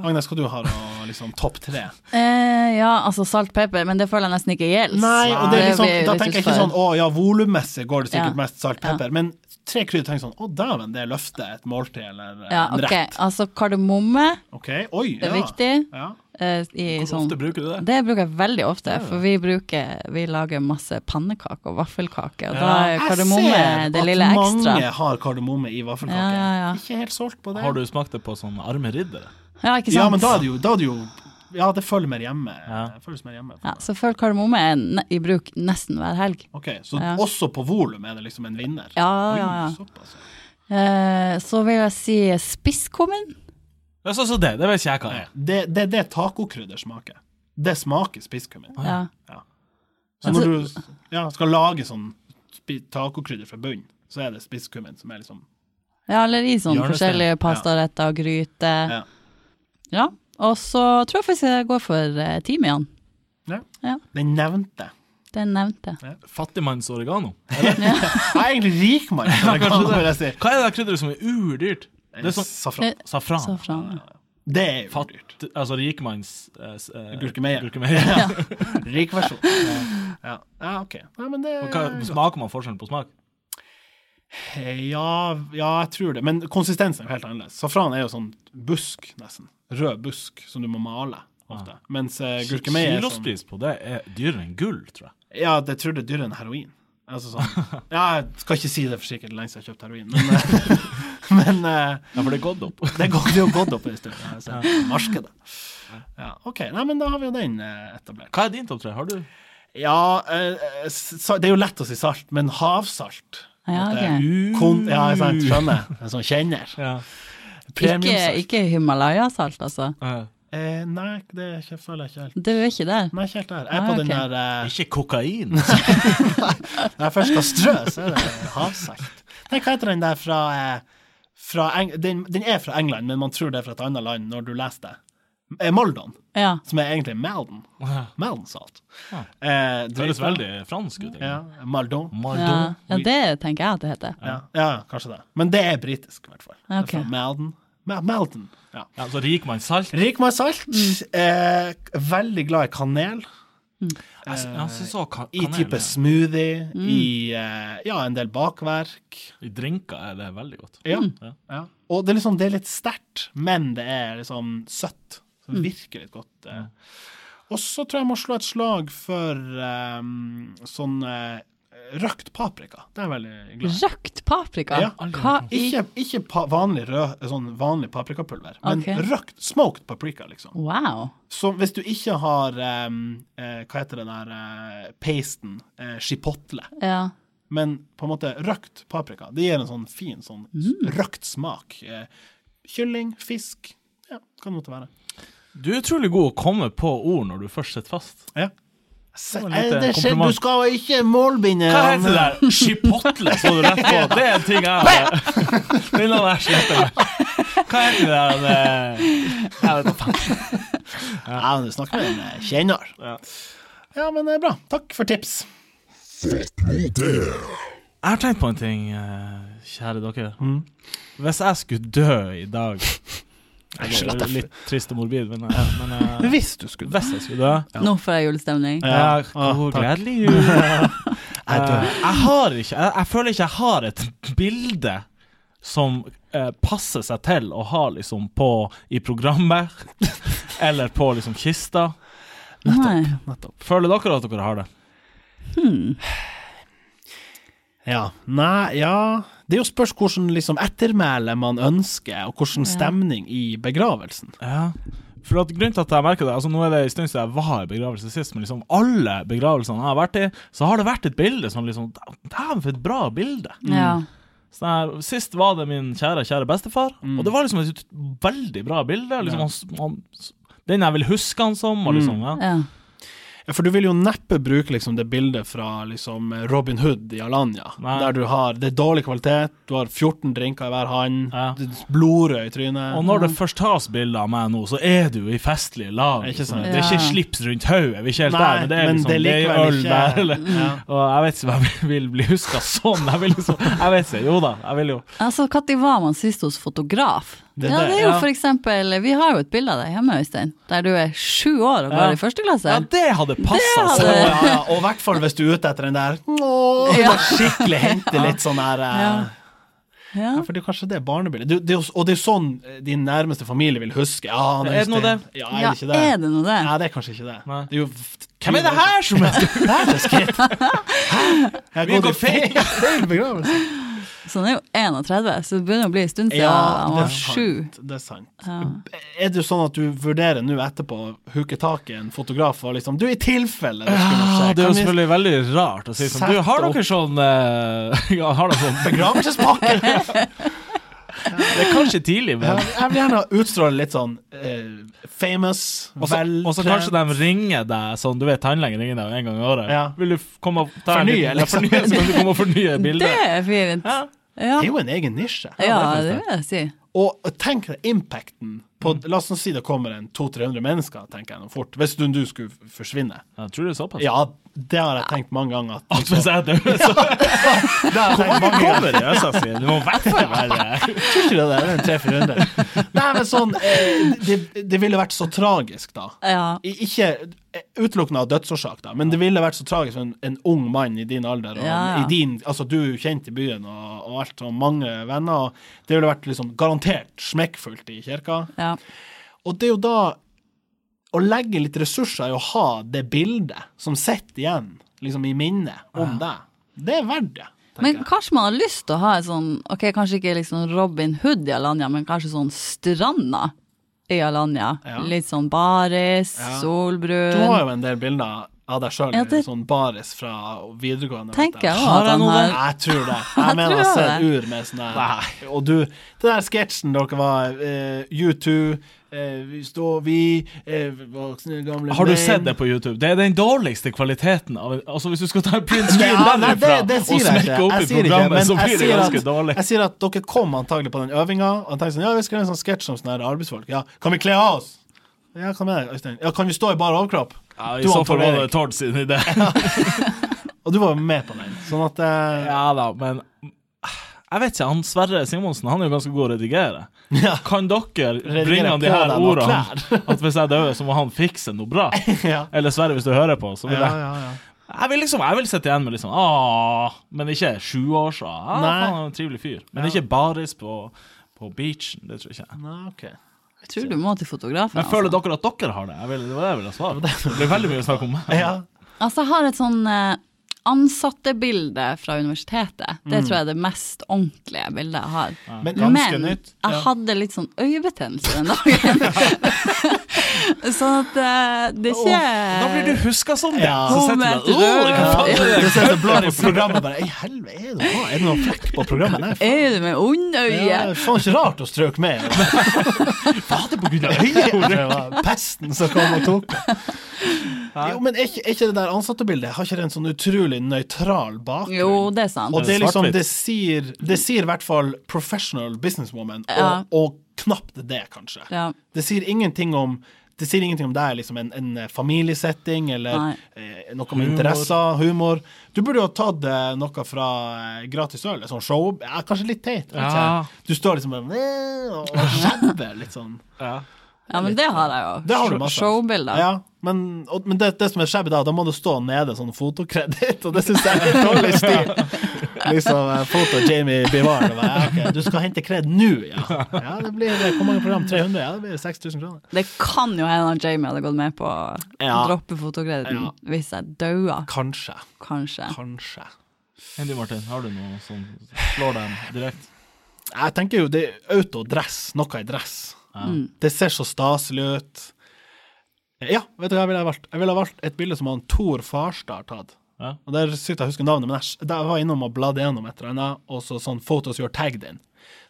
[SPEAKER 2] Agnes, hva du har av liksom, topp tre?
[SPEAKER 4] Eh, ja, altså salt, pepper, men det føler jeg nesten ikke gjelder.
[SPEAKER 2] Nei, og det er liksom,
[SPEAKER 4] blir
[SPEAKER 2] da
[SPEAKER 4] litt
[SPEAKER 2] tenker jeg ikke
[SPEAKER 4] utfordrende.
[SPEAKER 2] sånn å ja, volummessig går det sikkert
[SPEAKER 4] Ja.
[SPEAKER 2] mest salt pepper, men tre krydder tenker sånn å dæven, det løfter et måltid eller eh,
[SPEAKER 4] Ja,
[SPEAKER 2] en
[SPEAKER 4] ok.
[SPEAKER 2] rett.
[SPEAKER 4] Altså kardemomme
[SPEAKER 2] Ok, oi,
[SPEAKER 4] det
[SPEAKER 2] ja.
[SPEAKER 4] er viktig.
[SPEAKER 2] Ja.
[SPEAKER 4] eh, i, sånn,
[SPEAKER 3] bruker du det?
[SPEAKER 4] [laughs] det bruker jeg veldig ofte, for vi, bruker, vi lager masse pannekaker og vaffelkaker, og da
[SPEAKER 3] Ja.
[SPEAKER 4] er Eh, kardemomme det lille ekstra.
[SPEAKER 2] mange har kardemomme i vaffelkake.
[SPEAKER 4] Ja, ja, ja.
[SPEAKER 2] Ikke helt solgt på det.
[SPEAKER 3] Har du smakt det på sånn arme riddere?
[SPEAKER 4] Ja, ikke sant?
[SPEAKER 2] ja, men da er det jo, da er det jo Ja, det følger mer hjemme.
[SPEAKER 3] Ja.
[SPEAKER 2] Det Føles mer hjemme.
[SPEAKER 4] Ja, så følg kardemomme er ne- i bruk nesten hver helg.
[SPEAKER 2] Ok, Så
[SPEAKER 4] Ja.
[SPEAKER 2] også på volum er det liksom en vinner?
[SPEAKER 4] Ja,
[SPEAKER 2] Oi,
[SPEAKER 4] ja, ja.
[SPEAKER 2] såpass, ja.
[SPEAKER 4] Eh, så vil jeg si spisskummen.
[SPEAKER 3] Det er sånn som det. Det vet ikke jeg hva
[SPEAKER 2] Nei,
[SPEAKER 3] er.
[SPEAKER 2] Det er det, det tacokrydder smaker. Det smaker spisskummin.
[SPEAKER 4] Ja.
[SPEAKER 2] Så
[SPEAKER 4] Altså-
[SPEAKER 2] når du ja, skal lage sånn spi- tacokrydder fra bunnen, så er det spisskummin som er liksom
[SPEAKER 4] ja, eller i sånn
[SPEAKER 3] Hjørnestein.
[SPEAKER 4] forskjellige pastaretter og gryter.
[SPEAKER 2] Ja.
[SPEAKER 4] Ja. Og så tror jeg faktisk jeg går for eh, timian.
[SPEAKER 2] ja.
[SPEAKER 4] Ja.
[SPEAKER 2] Den nevnte.
[SPEAKER 4] Den nevnte jeg.
[SPEAKER 3] Fattigmannsoregano.
[SPEAKER 2] Jeg er egentlig rikmann,
[SPEAKER 3] [laughs]
[SPEAKER 2] kan jeg si.
[SPEAKER 3] Hva er det der krydderet som er urdyrt? Det er sånn
[SPEAKER 4] Eh,
[SPEAKER 2] Safran.
[SPEAKER 3] safran.
[SPEAKER 4] Safran. ja.
[SPEAKER 2] Det er jo
[SPEAKER 3] Fatt, altså rikmanns eh, s- eh,
[SPEAKER 2] Gurkemeie.
[SPEAKER 3] gurkemeie. [laughs]
[SPEAKER 2] rik versjon. Ja. Ja. ja, OK. Ja, men det
[SPEAKER 3] Og Hva, smaker man forskjellen på smak?
[SPEAKER 2] Ja, ja, jeg tror det. Men konsistensen er jo helt annerledes. Safran er jo sånn busk, nesten. Rød busk som du må male ofte. Mens uh, gurkemeie er sånn
[SPEAKER 3] Kilospris på det er dyrere enn gull, tror jeg.
[SPEAKER 2] Ja, jeg tror det er dyrere enn heroin. Altså sånn. Ja, jeg skal ikke si det for sikkert lenge siden jeg har kjøpt heroin, men, eh, [laughs] men eh,
[SPEAKER 3] Ja, for det er gått opp.
[SPEAKER 2] det går det er jo gått opp en stund. ja, så Markedet. Ja, OK. Nei, men da har vi jo den eh, etablert.
[SPEAKER 3] Hva er din topp tre? Har du?
[SPEAKER 2] Ja, eh, eh, sa- det er jo lett å si salt, men havsalt
[SPEAKER 4] Ja,
[SPEAKER 2] Det
[SPEAKER 4] ok.
[SPEAKER 2] er Kon ja, sant, skjønner. En sånn kjenner.
[SPEAKER 3] Ja.
[SPEAKER 4] Ikke,
[SPEAKER 2] Premiumsalt.
[SPEAKER 4] ikke Himalaya-salt, altså.
[SPEAKER 3] Eh,
[SPEAKER 2] Eh, nei, det er ikke, føler jeg ikke helt.
[SPEAKER 4] Du er ikke der.
[SPEAKER 2] Nei, ikke helt der. Jeg er
[SPEAKER 4] Ah,
[SPEAKER 2] på
[SPEAKER 4] ok.
[SPEAKER 2] den der eh,
[SPEAKER 3] ikke [laughs] kokain.
[SPEAKER 2] Når jeg først skal strø, så er det havsalt. Nei, hva heter den der fra, eh, fra Eng den, den er fra England, men man tror det er fra et annet land når du leser det. Eh, Moldon,
[SPEAKER 4] Ja.
[SPEAKER 2] som er egentlig Maldon.
[SPEAKER 3] Det
[SPEAKER 2] Maldonsalt.
[SPEAKER 3] Ja.
[SPEAKER 4] Ah.
[SPEAKER 2] Eh,
[SPEAKER 3] høres
[SPEAKER 2] dritbra.
[SPEAKER 3] veldig fransk ut. egentlig.
[SPEAKER 2] Ja, Maldon.
[SPEAKER 4] Ja.
[SPEAKER 3] Mardon.
[SPEAKER 4] ja, det tenker jeg at det heter.
[SPEAKER 2] Ja. ja, kanskje det. Men det er britisk, i hvert fall. Det er
[SPEAKER 4] Ok.
[SPEAKER 2] fra Maldon. Ma- Maldon. Ja.
[SPEAKER 3] Ja, så rikmannssalt.
[SPEAKER 2] Rik med salt. Eh, vellig glad i kanel. Eh,
[SPEAKER 3] Jeg sy- jeg syns også ka-
[SPEAKER 2] I
[SPEAKER 3] kanel
[SPEAKER 2] type
[SPEAKER 3] er-
[SPEAKER 2] smoothie. I eh, ja, en del bakverk.
[SPEAKER 3] I drinker er det veldig godt.
[SPEAKER 2] Ja.
[SPEAKER 3] Ja.
[SPEAKER 2] ja. Og det er, liksom, det er litt sterkt, men det er liksom søtt. Så det virker litt godt. eh. Og så tror jeg jeg må slå et slag for eh, sånn eh, røkt paprika. Det er jeg veldig glad i.
[SPEAKER 4] Røkt paprika?
[SPEAKER 2] Ja.
[SPEAKER 4] Hva i
[SPEAKER 2] Ikke, ikke pa vanlig, rød, sånn vanlig paprikapulver, men
[SPEAKER 4] Ok.
[SPEAKER 2] røkt, smoked paprika, liksom.
[SPEAKER 4] Wow.
[SPEAKER 2] Så hvis du ikke har em, eh, Hva heter den der eh, pasten? Eh, chipotle.
[SPEAKER 4] Ja.
[SPEAKER 2] Men på en måte røkt paprika. Det gir en sånn fin sånn
[SPEAKER 3] Mm.
[SPEAKER 2] røkt smak. Eh, kylling, fisk Ja, hva det måtte være.
[SPEAKER 3] Du er utrolig god å komme på ord når du først sitter fast.
[SPEAKER 2] Ja. Se,
[SPEAKER 3] var
[SPEAKER 2] eh,
[SPEAKER 3] litt, eh,
[SPEAKER 2] det skjer,
[SPEAKER 3] kompliment.
[SPEAKER 2] du skal jo ikke målbinde
[SPEAKER 3] Hva heter det der? Chipotle, så du rett på. Det er en ting jeg har. Denne der sliter jeg med. Hva heter det der eh, Jeg vet da faen.
[SPEAKER 2] eh, Ja, men du snakker med en eh, kjenner.
[SPEAKER 3] Ja.
[SPEAKER 2] Ja, men det er bra. Takk for tips.
[SPEAKER 3] Jeg har tenkt på en ting, eh, kjære dere. Hvis jeg skulle dø i dag Det er litt trist og morbid, men, eh, men eh,
[SPEAKER 2] Hvis du skulle
[SPEAKER 3] hvis jeg skulle dø
[SPEAKER 4] Nå får jeg julestemning.
[SPEAKER 2] Ja.
[SPEAKER 3] eh, god
[SPEAKER 2] Ah,
[SPEAKER 3] [laughs]
[SPEAKER 2] takk.
[SPEAKER 3] Gledelig jul. Eh,
[SPEAKER 2] dør.
[SPEAKER 3] [laughs] Jeg har ikke jeg, jeg føler ikke jeg har et bilde som eh, passer seg til å ha liksom på i programmet, [laughs] eller på liksom kista.
[SPEAKER 4] Nei.
[SPEAKER 2] Nettopp.
[SPEAKER 3] Føler dere at dere har det?
[SPEAKER 4] Hmm.
[SPEAKER 2] Ja. Nei, ja Det er jo spørs hvordan liksom, ettermæle man ønsker, og hvordan stemning i begravelsen.
[SPEAKER 3] Ja. For at grunnen til at jeg merker det, altså nå er det en stund siden jeg var i begravelse sist, men liksom alle begravelsene jeg har vært i, så har det vært et bilde som liksom Dæven, for et bra bilde!
[SPEAKER 2] Mm.
[SPEAKER 4] Ja.
[SPEAKER 3] Sånn her, sist var det min kjære, kjære bestefar, og det var liksom et ut- veldig bra bilde. Liksom,
[SPEAKER 2] Ja.
[SPEAKER 3] han, han, den jeg vil huske han som. Og liksom, ja.
[SPEAKER 4] ja.
[SPEAKER 2] Ja, For du vil jo neppe bruke liksom, det bildet fra liksom, Robin Hood i Alanya,
[SPEAKER 3] Nei.
[SPEAKER 2] der du har det er dårlig kvalitet, du har 14 drinker i hver hand,
[SPEAKER 3] Ja.
[SPEAKER 2] det er blodrød i trynet.
[SPEAKER 3] Og når det først tas bilde av meg nå, så er du i festlige lag.
[SPEAKER 2] Ikke
[SPEAKER 3] liksom.
[SPEAKER 2] sant?
[SPEAKER 3] Det er ikke
[SPEAKER 4] Ja.
[SPEAKER 3] slips rundt hodet, vi er ikke helt
[SPEAKER 2] Nei,
[SPEAKER 3] der, men det er, liksom, det er
[SPEAKER 2] likevel
[SPEAKER 3] øl der. Eller.
[SPEAKER 2] ja.
[SPEAKER 3] Og jeg vet ikke om jeg vil bli huska sånn. Jeg, vil liksom, jeg vet ikke. Jo da, jeg vil jo.
[SPEAKER 4] Altså, Når var man sist hos fotograf?
[SPEAKER 2] Det
[SPEAKER 4] ja,
[SPEAKER 2] der,
[SPEAKER 4] det er jo
[SPEAKER 3] ja.
[SPEAKER 4] for eksempel, Vi har jo et bilde av deg hjemme, Øystein, der du er sju år og går
[SPEAKER 3] Ja.
[SPEAKER 4] i første klasse.
[SPEAKER 3] Ja, det hadde passa
[SPEAKER 4] hadde-
[SPEAKER 2] Så,
[SPEAKER 3] sånn.
[SPEAKER 2] ja, ja. Og i hvert fall hvis du er ute etter den der Åh,
[SPEAKER 4] Ja.
[SPEAKER 2] skikkelig hente litt sånn her eh,
[SPEAKER 4] Ja.
[SPEAKER 2] ja, For det er kanskje det barnebildet. Du, det er, jo- og det er jo sånn eh, din nærmeste familie vil huske. Ja, han
[SPEAKER 3] Er det noe
[SPEAKER 2] Øystein.
[SPEAKER 3] det?
[SPEAKER 2] Ja,
[SPEAKER 4] Ja,
[SPEAKER 2] er det ikke det?
[SPEAKER 4] er det noe det?
[SPEAKER 2] Nei, det er kanskje ikke det.
[SPEAKER 3] Nei.
[SPEAKER 2] det er jo,
[SPEAKER 3] Hvem er det her som er
[SPEAKER 2] [laughs] Det her er
[SPEAKER 3] [laughs]
[SPEAKER 2] skritt. Jeg har
[SPEAKER 3] Vi
[SPEAKER 2] gått i
[SPEAKER 3] går feil.
[SPEAKER 2] [laughs] feil begravelse.
[SPEAKER 4] Så han er jo 31, så det begynner å bli en stund siden han
[SPEAKER 2] det
[SPEAKER 4] var
[SPEAKER 2] er
[SPEAKER 4] sju.
[SPEAKER 2] sant. Det er sant.
[SPEAKER 4] Ja.
[SPEAKER 2] Er det jo sånn at du vurderer nå etterpå å huke tak i en fotograf og liksom Du, i tilfelle det skulle skje,
[SPEAKER 3] Ja, det er jo
[SPEAKER 2] kan vi-
[SPEAKER 3] selvfølgelig veldig rart å si sånn. Du, har dere sånn eh, [laughs] ja, har dere sånn [laughs]
[SPEAKER 2] Begravelsespakke!
[SPEAKER 3] Det er kanskje tidlig, men
[SPEAKER 2] Jeg vil gjerne utstråle litt sånn eh, famous,
[SPEAKER 3] Og så-
[SPEAKER 2] veltrent
[SPEAKER 3] Og så kanskje de ringer deg sånn, du vet tannlegen ringer deg en gang i året.
[SPEAKER 2] Ja.
[SPEAKER 3] Vil du f- komme og ta en
[SPEAKER 2] Fornye,
[SPEAKER 3] liten-
[SPEAKER 2] liksom.
[SPEAKER 3] Ja, fornye, så kan du komme og
[SPEAKER 2] [laughs]
[SPEAKER 3] fornye
[SPEAKER 4] Det
[SPEAKER 3] bildet.
[SPEAKER 4] er fint.
[SPEAKER 3] Ja.
[SPEAKER 4] Ja.
[SPEAKER 2] Det er jo en egen nisje.
[SPEAKER 4] ja,
[SPEAKER 3] det
[SPEAKER 4] det
[SPEAKER 3] er
[SPEAKER 4] vil jeg si.
[SPEAKER 2] Og tenk deg impacten på
[SPEAKER 3] Mm.
[SPEAKER 2] La oss nå si det kommer en 200-300 mennesker, tenker jeg nå fort, hvis du, du skulle f- forsvinne.
[SPEAKER 3] Jeg tror det er [laughs] såpass.
[SPEAKER 2] Ja, det har jeg tenkt mange ganger. At,
[SPEAKER 3] At hvis jeg dør, så
[SPEAKER 2] det har jeg tenkt mange ganger.
[SPEAKER 3] kommer det øsa si. Det må i hvert fall
[SPEAKER 2] [laughs]
[SPEAKER 3] være
[SPEAKER 2] Tror ikke det der, det er en 300-400. Nei, men sånn, eh, det, det ville vært så tragisk da.
[SPEAKER 4] Ja.
[SPEAKER 2] I- Ikke eh, utelukkende av dødsårsak, da, men det ville vært så tragisk for en, en ung mann i din alder. Og
[SPEAKER 4] Ja,
[SPEAKER 2] i
[SPEAKER 4] ja.
[SPEAKER 2] din, altså, du er jo kjent i byen og, og alt, og mange venner. Og det ville vært liksom garantert smekkfullt i kirka.
[SPEAKER 4] ja.
[SPEAKER 2] Og det er jo da å legge litt ressurser i å ha det bildet som sitter igjen liksom i minnet om deg. Det er verdt det. tenker
[SPEAKER 4] Men
[SPEAKER 2] jeg.
[SPEAKER 4] kanskje man har lyst til å ha et sånn Ok, kanskje ikke liksom Robin Hood i Alanya, men kanskje sånn Stranda i Alanya.
[SPEAKER 2] Ja.
[SPEAKER 4] Litt sånn baris,
[SPEAKER 2] Ja. Du har
[SPEAKER 4] solbrun
[SPEAKER 2] jo en del bilder av deg sjøl
[SPEAKER 4] Ja, det-
[SPEAKER 2] sånn baris fra videregående.
[SPEAKER 4] Tenker jeg
[SPEAKER 2] vet
[SPEAKER 4] også
[SPEAKER 2] jeg
[SPEAKER 4] at han
[SPEAKER 2] noe
[SPEAKER 4] har-
[SPEAKER 2] der? Jeg tror det.
[SPEAKER 4] [laughs]
[SPEAKER 2] Jeg mener
[SPEAKER 4] tror
[SPEAKER 2] jeg ser et
[SPEAKER 4] det.
[SPEAKER 2] ur med sånn der. Og du, det der sketsjen dere var eh, U2, eh, vi står vi eh, voksne, gamle
[SPEAKER 3] Har du
[SPEAKER 2] menn.
[SPEAKER 3] sett det på YouTube? Det er den dårligste kvaliteten av Altså, hvis du skal ta en print screen
[SPEAKER 2] Ja, nei,
[SPEAKER 3] derifra
[SPEAKER 2] det, det
[SPEAKER 3] og
[SPEAKER 2] sier jeg
[SPEAKER 3] smekke
[SPEAKER 2] ikke.
[SPEAKER 3] opp i
[SPEAKER 2] Jeg sier ikke,
[SPEAKER 3] programmet,
[SPEAKER 2] men
[SPEAKER 3] så blir
[SPEAKER 2] jeg
[SPEAKER 3] det
[SPEAKER 2] sier,
[SPEAKER 3] ganske
[SPEAKER 2] at,
[SPEAKER 3] dårlig.
[SPEAKER 2] jeg sier at dere kom antagelig på den øvinga og tenkte sånn Ja, vi skal gjøre en sånn sketsj om sånn her arbeidsfolk. Ja, kan vi kle av oss? Ja, hva med deg, Øystein? Ja, kan vi stå i bar overkropp?
[SPEAKER 3] Ja, I
[SPEAKER 2] Du
[SPEAKER 3] så
[SPEAKER 2] og
[SPEAKER 3] fall
[SPEAKER 2] Tor
[SPEAKER 3] var det
[SPEAKER 2] Erik.
[SPEAKER 3] Tord sin idé.
[SPEAKER 2] Og du var jo med på den, sånn at eh,
[SPEAKER 3] Ja da, men jeg vet ikke, han Sverre Simonsen han er jo ganske god å redigere.
[SPEAKER 2] Ja.
[SPEAKER 3] Kan dere bringe han de
[SPEAKER 2] på
[SPEAKER 3] her
[SPEAKER 2] deg noen
[SPEAKER 3] ordene [laughs] at hvis jeg dør, så må han fikse noe bra?
[SPEAKER 2] [laughs] ja.
[SPEAKER 3] Eller Sverre, hvis du hører på. Så vil
[SPEAKER 2] Ja,
[SPEAKER 3] jeg,
[SPEAKER 2] ja, ja.
[SPEAKER 3] jeg vil liksom, jeg vil sitte igjen med liksom Åh, men ikke sju år siden. Ah,
[SPEAKER 2] Nei.
[SPEAKER 3] faen, han er en trivelig fyr. Men ikke baris på, på beachen. Det tror jeg ikke.
[SPEAKER 2] Nei, ok.
[SPEAKER 4] Jeg tror du må til fotografen.
[SPEAKER 3] Men føler
[SPEAKER 4] altså.
[SPEAKER 3] dere at dere har det? Jeg vil, det var det jeg ville svare. Det blir veldig mye snakk om meg.
[SPEAKER 2] Ja.
[SPEAKER 4] Altså, jeg har et sånn eh, ansattebilde fra universitetet. Det tror jeg er det mest ordentlige bildet jeg har.
[SPEAKER 2] Men
[SPEAKER 4] Men
[SPEAKER 2] Mm. Ja.
[SPEAKER 4] jeg hadde litt sånn øyebetennelse den
[SPEAKER 2] [laughs]
[SPEAKER 4] dagen. [laughs] sånn at eh, det er ikke
[SPEAKER 3] Da blir du huska som det.
[SPEAKER 2] Ja.
[SPEAKER 3] Så setter
[SPEAKER 4] Moment,
[SPEAKER 3] du deg «Åh, hva faen er det?»
[SPEAKER 2] Du ser så blad på programmet bare I helvete, er det noe- er det noe flekk på programmet?
[SPEAKER 4] [laughs]
[SPEAKER 2] Nei, faen.
[SPEAKER 4] Er du med
[SPEAKER 2] Det er
[SPEAKER 4] ondøye?
[SPEAKER 2] faen ikke rart å strøke [laughs] med.
[SPEAKER 3] Var det på grunn av
[SPEAKER 2] Det var pesten som kom og tok det. Jo, men er ikke, er ikke det der ansattebildet Har ikke det en sånn utrolig nøytral bakgrunn?
[SPEAKER 4] Jo, det er sant.
[SPEAKER 2] Og det, er liksom,
[SPEAKER 3] Svart-hvitt.
[SPEAKER 2] det sier, det sier i hvert fall professional businesswoman,
[SPEAKER 4] Ja.
[SPEAKER 2] og, og knapt det, kanskje.
[SPEAKER 4] Ja.
[SPEAKER 2] Det sier ingenting om det sier ingenting om det er liksom en, en familiesetting eller
[SPEAKER 4] Nei.
[SPEAKER 2] eh, noe med interesser, humor. Du burde jo ha tatt eh, noe fra eh, Gratis øl, et sånt show. Ja, kanskje litt teit. vet
[SPEAKER 3] Ja.
[SPEAKER 2] ikke jeg. Du står liksom bare "Meh", og og skjelver litt sånn.
[SPEAKER 3] Ja.
[SPEAKER 4] Ja, men det har jeg jo.
[SPEAKER 2] Det har du masse av.
[SPEAKER 4] Showbilder.
[SPEAKER 2] Ja, men og, men det, det som er skjebne da, da må det stå nede sånn fotokreditt, og det syns jeg er litt dårlig stil. liksom eh, foto Jamie Bivard. Og bare, ja, ok, du skal hente kred nå, ja. ja det blir, eh, hvor mange program? 300? Ja, det blir 6000 kroner.
[SPEAKER 4] Det kan jo hende at Jamie hadde gått med på å
[SPEAKER 2] Ja.
[SPEAKER 4] droppe fotokrediten
[SPEAKER 2] Ja.
[SPEAKER 4] hvis jeg daua,
[SPEAKER 2] Kanskje.
[SPEAKER 4] kanskje.
[SPEAKER 2] Kanskje.
[SPEAKER 3] Henry Martin, har du noe som slår deg direkte?
[SPEAKER 2] Jeg tenker jo det er autodress. Noe i dress.
[SPEAKER 3] Ja.
[SPEAKER 2] Det ser så staselig ut. Ja, vet du hva jeg ville ha valgt? Jeg ville ha valgt et bilde som han Tor Farstad har tatt.
[SPEAKER 3] Ja.
[SPEAKER 2] Og Der sykt jeg husker navnet, men jeg, jeg var innom og bladde gjennom et eller annet, og så sånn Photos you're tagged in.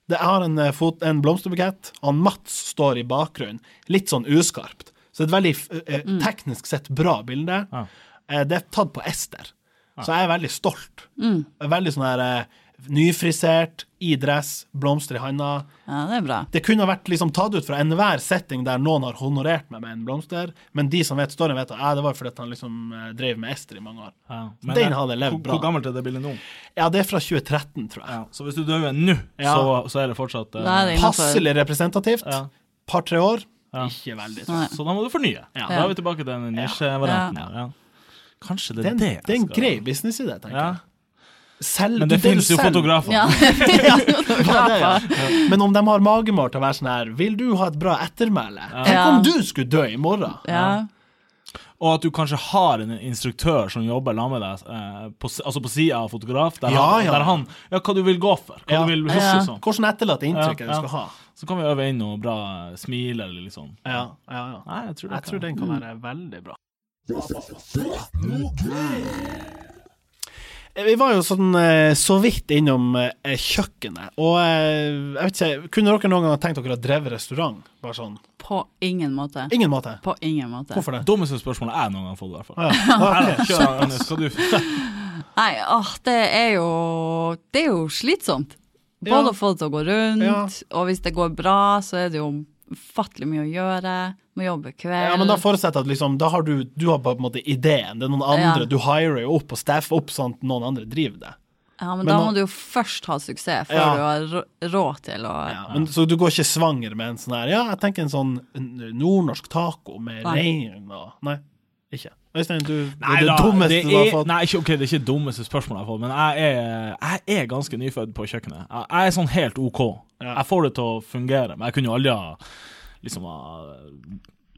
[SPEAKER 2] Det, jeg har en, eh, fot, en blomsterbukett, og han Mats står i bakgrunnen, litt sånn uskarpt. Så det er et veldig f- eh, teknisk sett bra bilde.
[SPEAKER 3] Ja.
[SPEAKER 2] Eh, det er tatt på Ester,
[SPEAKER 3] Ah.
[SPEAKER 2] så jeg er veldig stolt.
[SPEAKER 4] Mm.
[SPEAKER 2] Jeg er Veldig sånn her eh, nyfrisert, i dress, blomster i handa.
[SPEAKER 4] Ja, det er bra.
[SPEAKER 2] Det kunne ha vært liksom tatt ut fra enhver setting der noen har honorert meg med en blomster, men de som vet storyen, vet at ah, det var fordi at han liksom eh, drev med Ester i mange år.
[SPEAKER 3] Ja.
[SPEAKER 2] Den hadde levd
[SPEAKER 3] hvor,
[SPEAKER 2] bra.
[SPEAKER 3] Hvor gammelt er det bildet nå?
[SPEAKER 2] Ja, det er fra 2013, tror jeg.
[SPEAKER 3] Så hvis du dør nå,
[SPEAKER 2] Ja.
[SPEAKER 3] så, så er det fortsatt eh,
[SPEAKER 4] Da er det innafor.
[SPEAKER 2] Passelig representativt.
[SPEAKER 3] Ja.
[SPEAKER 2] Par-tre år.
[SPEAKER 3] Ja.
[SPEAKER 2] Ikke veldig.
[SPEAKER 4] Nei.
[SPEAKER 3] Så da må du fornye.
[SPEAKER 2] Ja.
[SPEAKER 3] Da er vi tilbake til den nisjevarianten.
[SPEAKER 4] Ja.
[SPEAKER 3] her, Ja. Kanskje det
[SPEAKER 2] Det
[SPEAKER 3] er
[SPEAKER 2] er en,
[SPEAKER 3] det
[SPEAKER 2] det er en grei businessidé, tenker
[SPEAKER 3] Ja.
[SPEAKER 2] jeg. Selv,
[SPEAKER 3] Men det
[SPEAKER 2] du- du
[SPEAKER 3] finnes jo
[SPEAKER 2] selv-
[SPEAKER 3] fotografer.
[SPEAKER 4] Ja,
[SPEAKER 2] Ja, det, ja. Men om de har magemål til å være sånn her Vil du ha et bra ettermæle? Tenk om
[SPEAKER 4] Ja.
[SPEAKER 2] du skulle dø i morgen!
[SPEAKER 4] ja.
[SPEAKER 3] Og at du kanskje har en instruktør som jobber sammen med deg, eh, på, s- altså på sida av fotograf, der,
[SPEAKER 2] Ja,
[SPEAKER 3] han,
[SPEAKER 2] ja.
[SPEAKER 3] der han Ja, hva du vil gå for? Hva
[SPEAKER 2] Ja.
[SPEAKER 3] du vil huske
[SPEAKER 4] Ja.
[SPEAKER 3] sånn.
[SPEAKER 2] Hvordan etterlater inntrykk
[SPEAKER 3] Ja,
[SPEAKER 2] er det du
[SPEAKER 3] ja.
[SPEAKER 2] skal ha?
[SPEAKER 3] Så kan vi øve inn noe bra eh, smil, eller litt sånn.
[SPEAKER 2] Ja, ja, ja.
[SPEAKER 3] Nei, jeg tror det
[SPEAKER 2] Jeg tror den kan være veldig bra. Eh, Vi var jo sånn eh, så vidt innom eh, kjøkkenet, og eh, jeg vet ikke Kunne dere noen gang tenkt dere å dreve restaurant? Bare sånn
[SPEAKER 4] På ingen måte.
[SPEAKER 2] Ingen måte.
[SPEAKER 4] På ingen måte.
[SPEAKER 2] Hvorfor
[SPEAKER 4] [laughs]
[SPEAKER 2] det?
[SPEAKER 3] Dummeste spørsmålet jeg noen gang har fått, i hvert fall.
[SPEAKER 2] Ah, ja. Ah,
[SPEAKER 3] Nei,
[SPEAKER 2] ok.
[SPEAKER 3] Kjør, Agnes, hva du
[SPEAKER 4] Nei, åh, det er jo Det er jo slitsomt.
[SPEAKER 2] Ja.
[SPEAKER 4] Både å få det til å gå rundt,
[SPEAKER 2] Ja.
[SPEAKER 4] og hvis det går bra, så er det jo ufattelig mye å gjøre. Må jobbe kveld.
[SPEAKER 2] Ja, men da forutsetter jeg at liksom, da har du, du har på en måte ideen. Det er noen andre.
[SPEAKER 4] Ja.
[SPEAKER 2] Du hirer jo opp og staffer opp sånn at noen andre driver det.
[SPEAKER 4] Ja, men
[SPEAKER 2] Men
[SPEAKER 4] da
[SPEAKER 2] nå-
[SPEAKER 4] må du jo først ha suksess før
[SPEAKER 2] Ja.
[SPEAKER 4] du har rå- råd til å
[SPEAKER 2] Ja, men, så du går ikke svanger med en sånn her Ja, jeg tenker en sånn n- nordnorsk taco med
[SPEAKER 4] Nei.
[SPEAKER 2] rein og Nei, ikke. Øystein, du
[SPEAKER 3] Nei
[SPEAKER 2] Det er det
[SPEAKER 3] da,
[SPEAKER 2] dummeste
[SPEAKER 3] det
[SPEAKER 2] du har
[SPEAKER 3] er-
[SPEAKER 2] fått.
[SPEAKER 3] Nei, ikke, ok, det er ikke det dummeste spørsmålet jeg har fått, men jeg er, jeg er ganske nyfødt på kjøkkenet. Jeg, jeg er sånn helt OK.
[SPEAKER 2] Ja.
[SPEAKER 3] Jeg får det til å fungere, men jeg kunne jo aldri ha liksom ha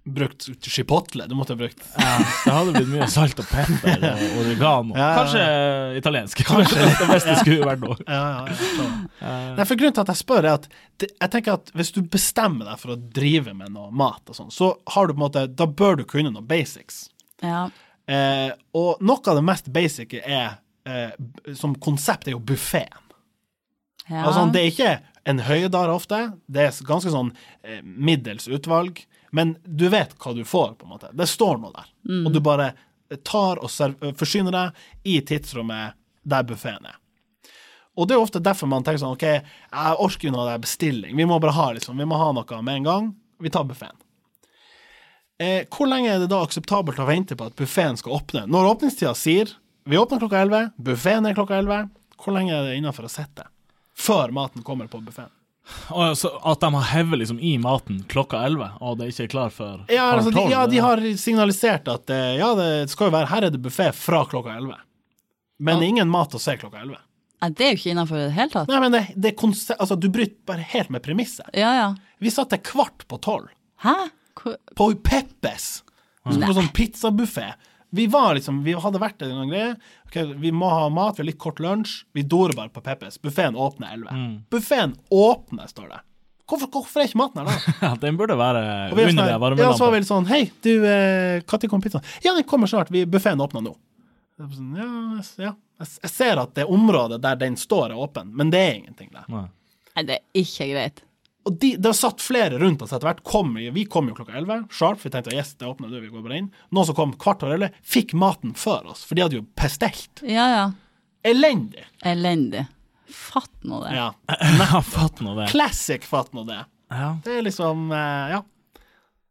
[SPEAKER 2] Brukt chipotle. Du måtte ha brukt
[SPEAKER 3] Det hadde blitt mye salt og pepper og oregano.
[SPEAKER 2] Ja, ja, ja.
[SPEAKER 3] Kanskje italiensk. [laughs] det beste skulle vært noe.
[SPEAKER 2] Ja, ja, ja. skjønner. Nei, for grunnen til at jeg spør, er at det, jeg tenker at hvis du bestemmer deg for å drive med noe mat og sånn, så har du på en måte Da bør du kunne noe basics.
[SPEAKER 4] ja.
[SPEAKER 2] Eh, og noe av det mest basice er eh, b- som konsept er jo buffeen.
[SPEAKER 4] ja.
[SPEAKER 2] Altså, det er ikke en høydare ofte, det er s- ganske sånn eh, middels utvalg, men du vet hva du får, på en måte. Det står noe der, og du bare tar og serv- eh, forsyner deg i tidsrommet der buffeen er. Og det er jo ofte derfor man tenker sånn OK, jeg orker jo noe av det her bestilling. Vi må bare ha liksom, vi må ha noe med en gang. Vi tar buffeen. Eh, hvor lenge er det da akseptabelt å vente på at buffeen skal åpne? Når åpningstida sier vi åpner klokka 11, buffeen er klokka 11, hvor lenge er det innafor å sitte før maten kommer på buffeen?
[SPEAKER 3] Og så at de har hevet liksom i maten klokka elleve, og det ikke er klar før
[SPEAKER 2] Ja,
[SPEAKER 3] halv
[SPEAKER 2] altså, de,
[SPEAKER 3] tolv,
[SPEAKER 2] ja, de
[SPEAKER 3] det-
[SPEAKER 2] har signalisert at eh, ja, det skal jo være her er det buffé fra klokka 11. Men ingen mat å se klokka 11.
[SPEAKER 4] Nei, det er jo ikke innafor i det hele tatt.
[SPEAKER 2] Nei, men det, det er konse- altså, du bryter bare helt med premisset.
[SPEAKER 4] Ja ja.
[SPEAKER 2] Vi satt til kvart på tolv.
[SPEAKER 4] Hæ? Hvor-
[SPEAKER 2] på Peppes. Vi skulle på sånn pizzabuffé. Vi var liksom, vi hadde vært der en greie. Ok, vi må ha mat, vi har litt kort lunsj. Vi dorer bare på Peppes. Buffeen åpner 11. Buffeen åpner, står det. Hvorfor, hvorfor er ikke maten her
[SPEAKER 3] [laughs]
[SPEAKER 2] da?
[SPEAKER 3] [laughs] Ja, Den burde være
[SPEAKER 2] Og
[SPEAKER 3] under
[SPEAKER 2] vi er sånn,
[SPEAKER 3] det
[SPEAKER 2] her- ja, så var
[SPEAKER 3] varmelampen.
[SPEAKER 2] vi litt sånn Hei, du, eh, når kom pizzaen? Ja, den kommer snart. Vi, buffeen åpner nå. Jeg var Sånn, ja, jeg s- ja. Jeg s- Jeg ser at det området der den står, er åpen, men det er ingenting der.
[SPEAKER 3] Nei.
[SPEAKER 4] Nei, det er ikke greit.
[SPEAKER 2] Og de, det har satt flere rundt oss etter hvert. Kom, vi kom jo klokka 11, sharp. Vi tenkte yes, det åpner nå, vi går bare inn. Noen som kom kvart over 11, fikk maten før oss, for de hadde jo bestilt.
[SPEAKER 4] Ja ja.
[SPEAKER 2] Elendig!
[SPEAKER 4] Elendig. Fatt nå det.
[SPEAKER 2] Ja.
[SPEAKER 3] [laughs] Ja, fatt nå det.
[SPEAKER 2] Classic, fatt nå det.
[SPEAKER 3] Ja.
[SPEAKER 2] Det er liksom eh, Ja.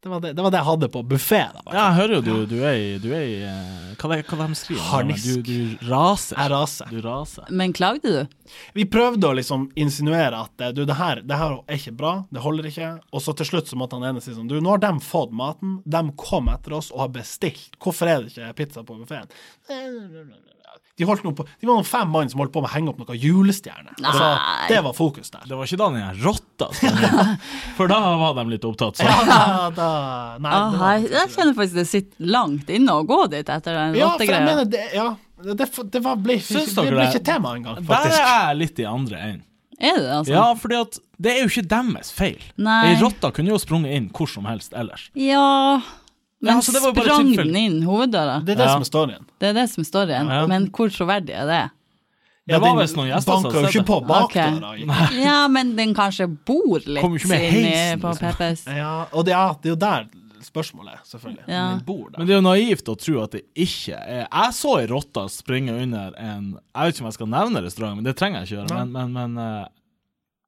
[SPEAKER 2] Det var det, det var det jeg hadde på buffé.
[SPEAKER 3] Ja, jeg hører jo du, du er i, du er i eh, Hva, det, hva de skriver
[SPEAKER 2] Harnisk.
[SPEAKER 3] Du, du raser.
[SPEAKER 2] Jeg raser.
[SPEAKER 3] Du raser.
[SPEAKER 4] Men klagde du?
[SPEAKER 2] Vi prøvde å liksom insinuere at eh, du, det her, det her er ikke bra, det holder ikke. Og så til slutt så måtte han ene si sånn Du, nå har de fått maten, de kom etter oss og har bestilt. Hvorfor er det ikke pizza på buffeen? de, holdt noe på, de var noen fem mann som holdt på med å henge opp noen julestjerner. Altså,
[SPEAKER 4] Nei.
[SPEAKER 2] det var fokus
[SPEAKER 3] [laughs]
[SPEAKER 2] der.
[SPEAKER 3] Det var ikke da den her rotta [laughs] skrev. For da var de litt opptatt. Så.
[SPEAKER 2] Ja, da, nei,
[SPEAKER 4] Ah,
[SPEAKER 2] det var-
[SPEAKER 4] jeg, jeg kjenner faktisk det sitter langt inne å gå dit etter
[SPEAKER 2] ja, for
[SPEAKER 4] den
[SPEAKER 2] jeg
[SPEAKER 4] rottegreia.
[SPEAKER 2] mener det, ja, det, det var, ble, det
[SPEAKER 3] Syns dere
[SPEAKER 2] ble
[SPEAKER 3] det-
[SPEAKER 2] ikke tema engang,
[SPEAKER 3] Der er
[SPEAKER 2] faktisk.
[SPEAKER 3] jeg litt i andre enden.
[SPEAKER 4] Er det det, altså?
[SPEAKER 3] Ja, fordi at det er jo ikke deres feil.
[SPEAKER 4] Nei.
[SPEAKER 3] Ei rotta kunne jo sprunget inn hvor som helst ellers.
[SPEAKER 4] Ja, Men
[SPEAKER 3] Ja, altså, det var jo bare
[SPEAKER 4] sprang
[SPEAKER 3] tilfelle.
[SPEAKER 4] den inn hoveddøra?
[SPEAKER 2] Det er det
[SPEAKER 3] Ja.
[SPEAKER 2] som er storyen.
[SPEAKER 4] Det er det som står igjen.
[SPEAKER 3] Ja.
[SPEAKER 4] Men hvor troverdig er det?
[SPEAKER 3] Det
[SPEAKER 2] Ja,
[SPEAKER 3] var
[SPEAKER 2] den
[SPEAKER 3] visst noen gjester som
[SPEAKER 2] banka jo
[SPEAKER 3] hadde
[SPEAKER 2] ikke
[SPEAKER 3] sett det.
[SPEAKER 2] på bakdøra.
[SPEAKER 4] Ok.
[SPEAKER 2] Okay.
[SPEAKER 4] Ja, men den kanskje bor litt
[SPEAKER 3] Kommer ikke med
[SPEAKER 4] inni
[SPEAKER 3] heisen,
[SPEAKER 4] på
[SPEAKER 3] liksom.
[SPEAKER 4] PPS.
[SPEAKER 2] Ja, og det, ja, det er jo der spørsmålet, er, selvfølgelig.
[SPEAKER 4] Ja.
[SPEAKER 2] Den bor der.
[SPEAKER 3] Men det er jo naivt å tro at det ikke er Jeg så ei rotte springe under en Jeg vet ikke om jeg skal nevne restauranten, men det trenger jeg ikke gjøre. Men, men, men eh,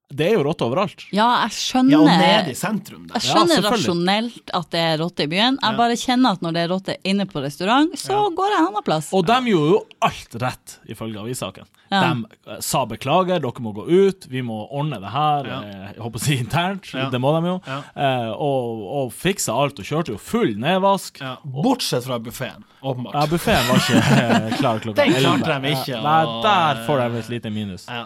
[SPEAKER 3] det er jo rotter overalt.
[SPEAKER 4] Ja, jeg
[SPEAKER 2] ja, og
[SPEAKER 4] skjønner
[SPEAKER 2] nede i sentrum der.
[SPEAKER 4] Jeg skjønner
[SPEAKER 3] Ja, selvfølgelig.
[SPEAKER 4] rasjonelt at det er rotte i byen. Jeg bare kjenner at når det er rotte inne på restaurant, så går jeg en annen plass.
[SPEAKER 3] Og de gjorde jo alt rett, ifølge avissaken.
[SPEAKER 4] Ja.
[SPEAKER 3] De eh, sa beklager, dere må gå ut, vi må ordne det her,
[SPEAKER 2] Ja.
[SPEAKER 3] eh, jeg håper å si internt,
[SPEAKER 2] Ja.
[SPEAKER 3] det må de jo.
[SPEAKER 2] Ja.
[SPEAKER 3] Eh, og, og fiksa alt, og kjørte jo full nedvask.
[SPEAKER 2] Ja, bortsett fra buffeen,
[SPEAKER 3] Ja,
[SPEAKER 2] åpenbart.
[SPEAKER 3] buffeen var ikke eh, klar klokka
[SPEAKER 2] Den klarte
[SPEAKER 3] 11.
[SPEAKER 2] de ikke,
[SPEAKER 3] Ja, Nei,
[SPEAKER 2] og-
[SPEAKER 3] der får de et lite minus.
[SPEAKER 2] Ja.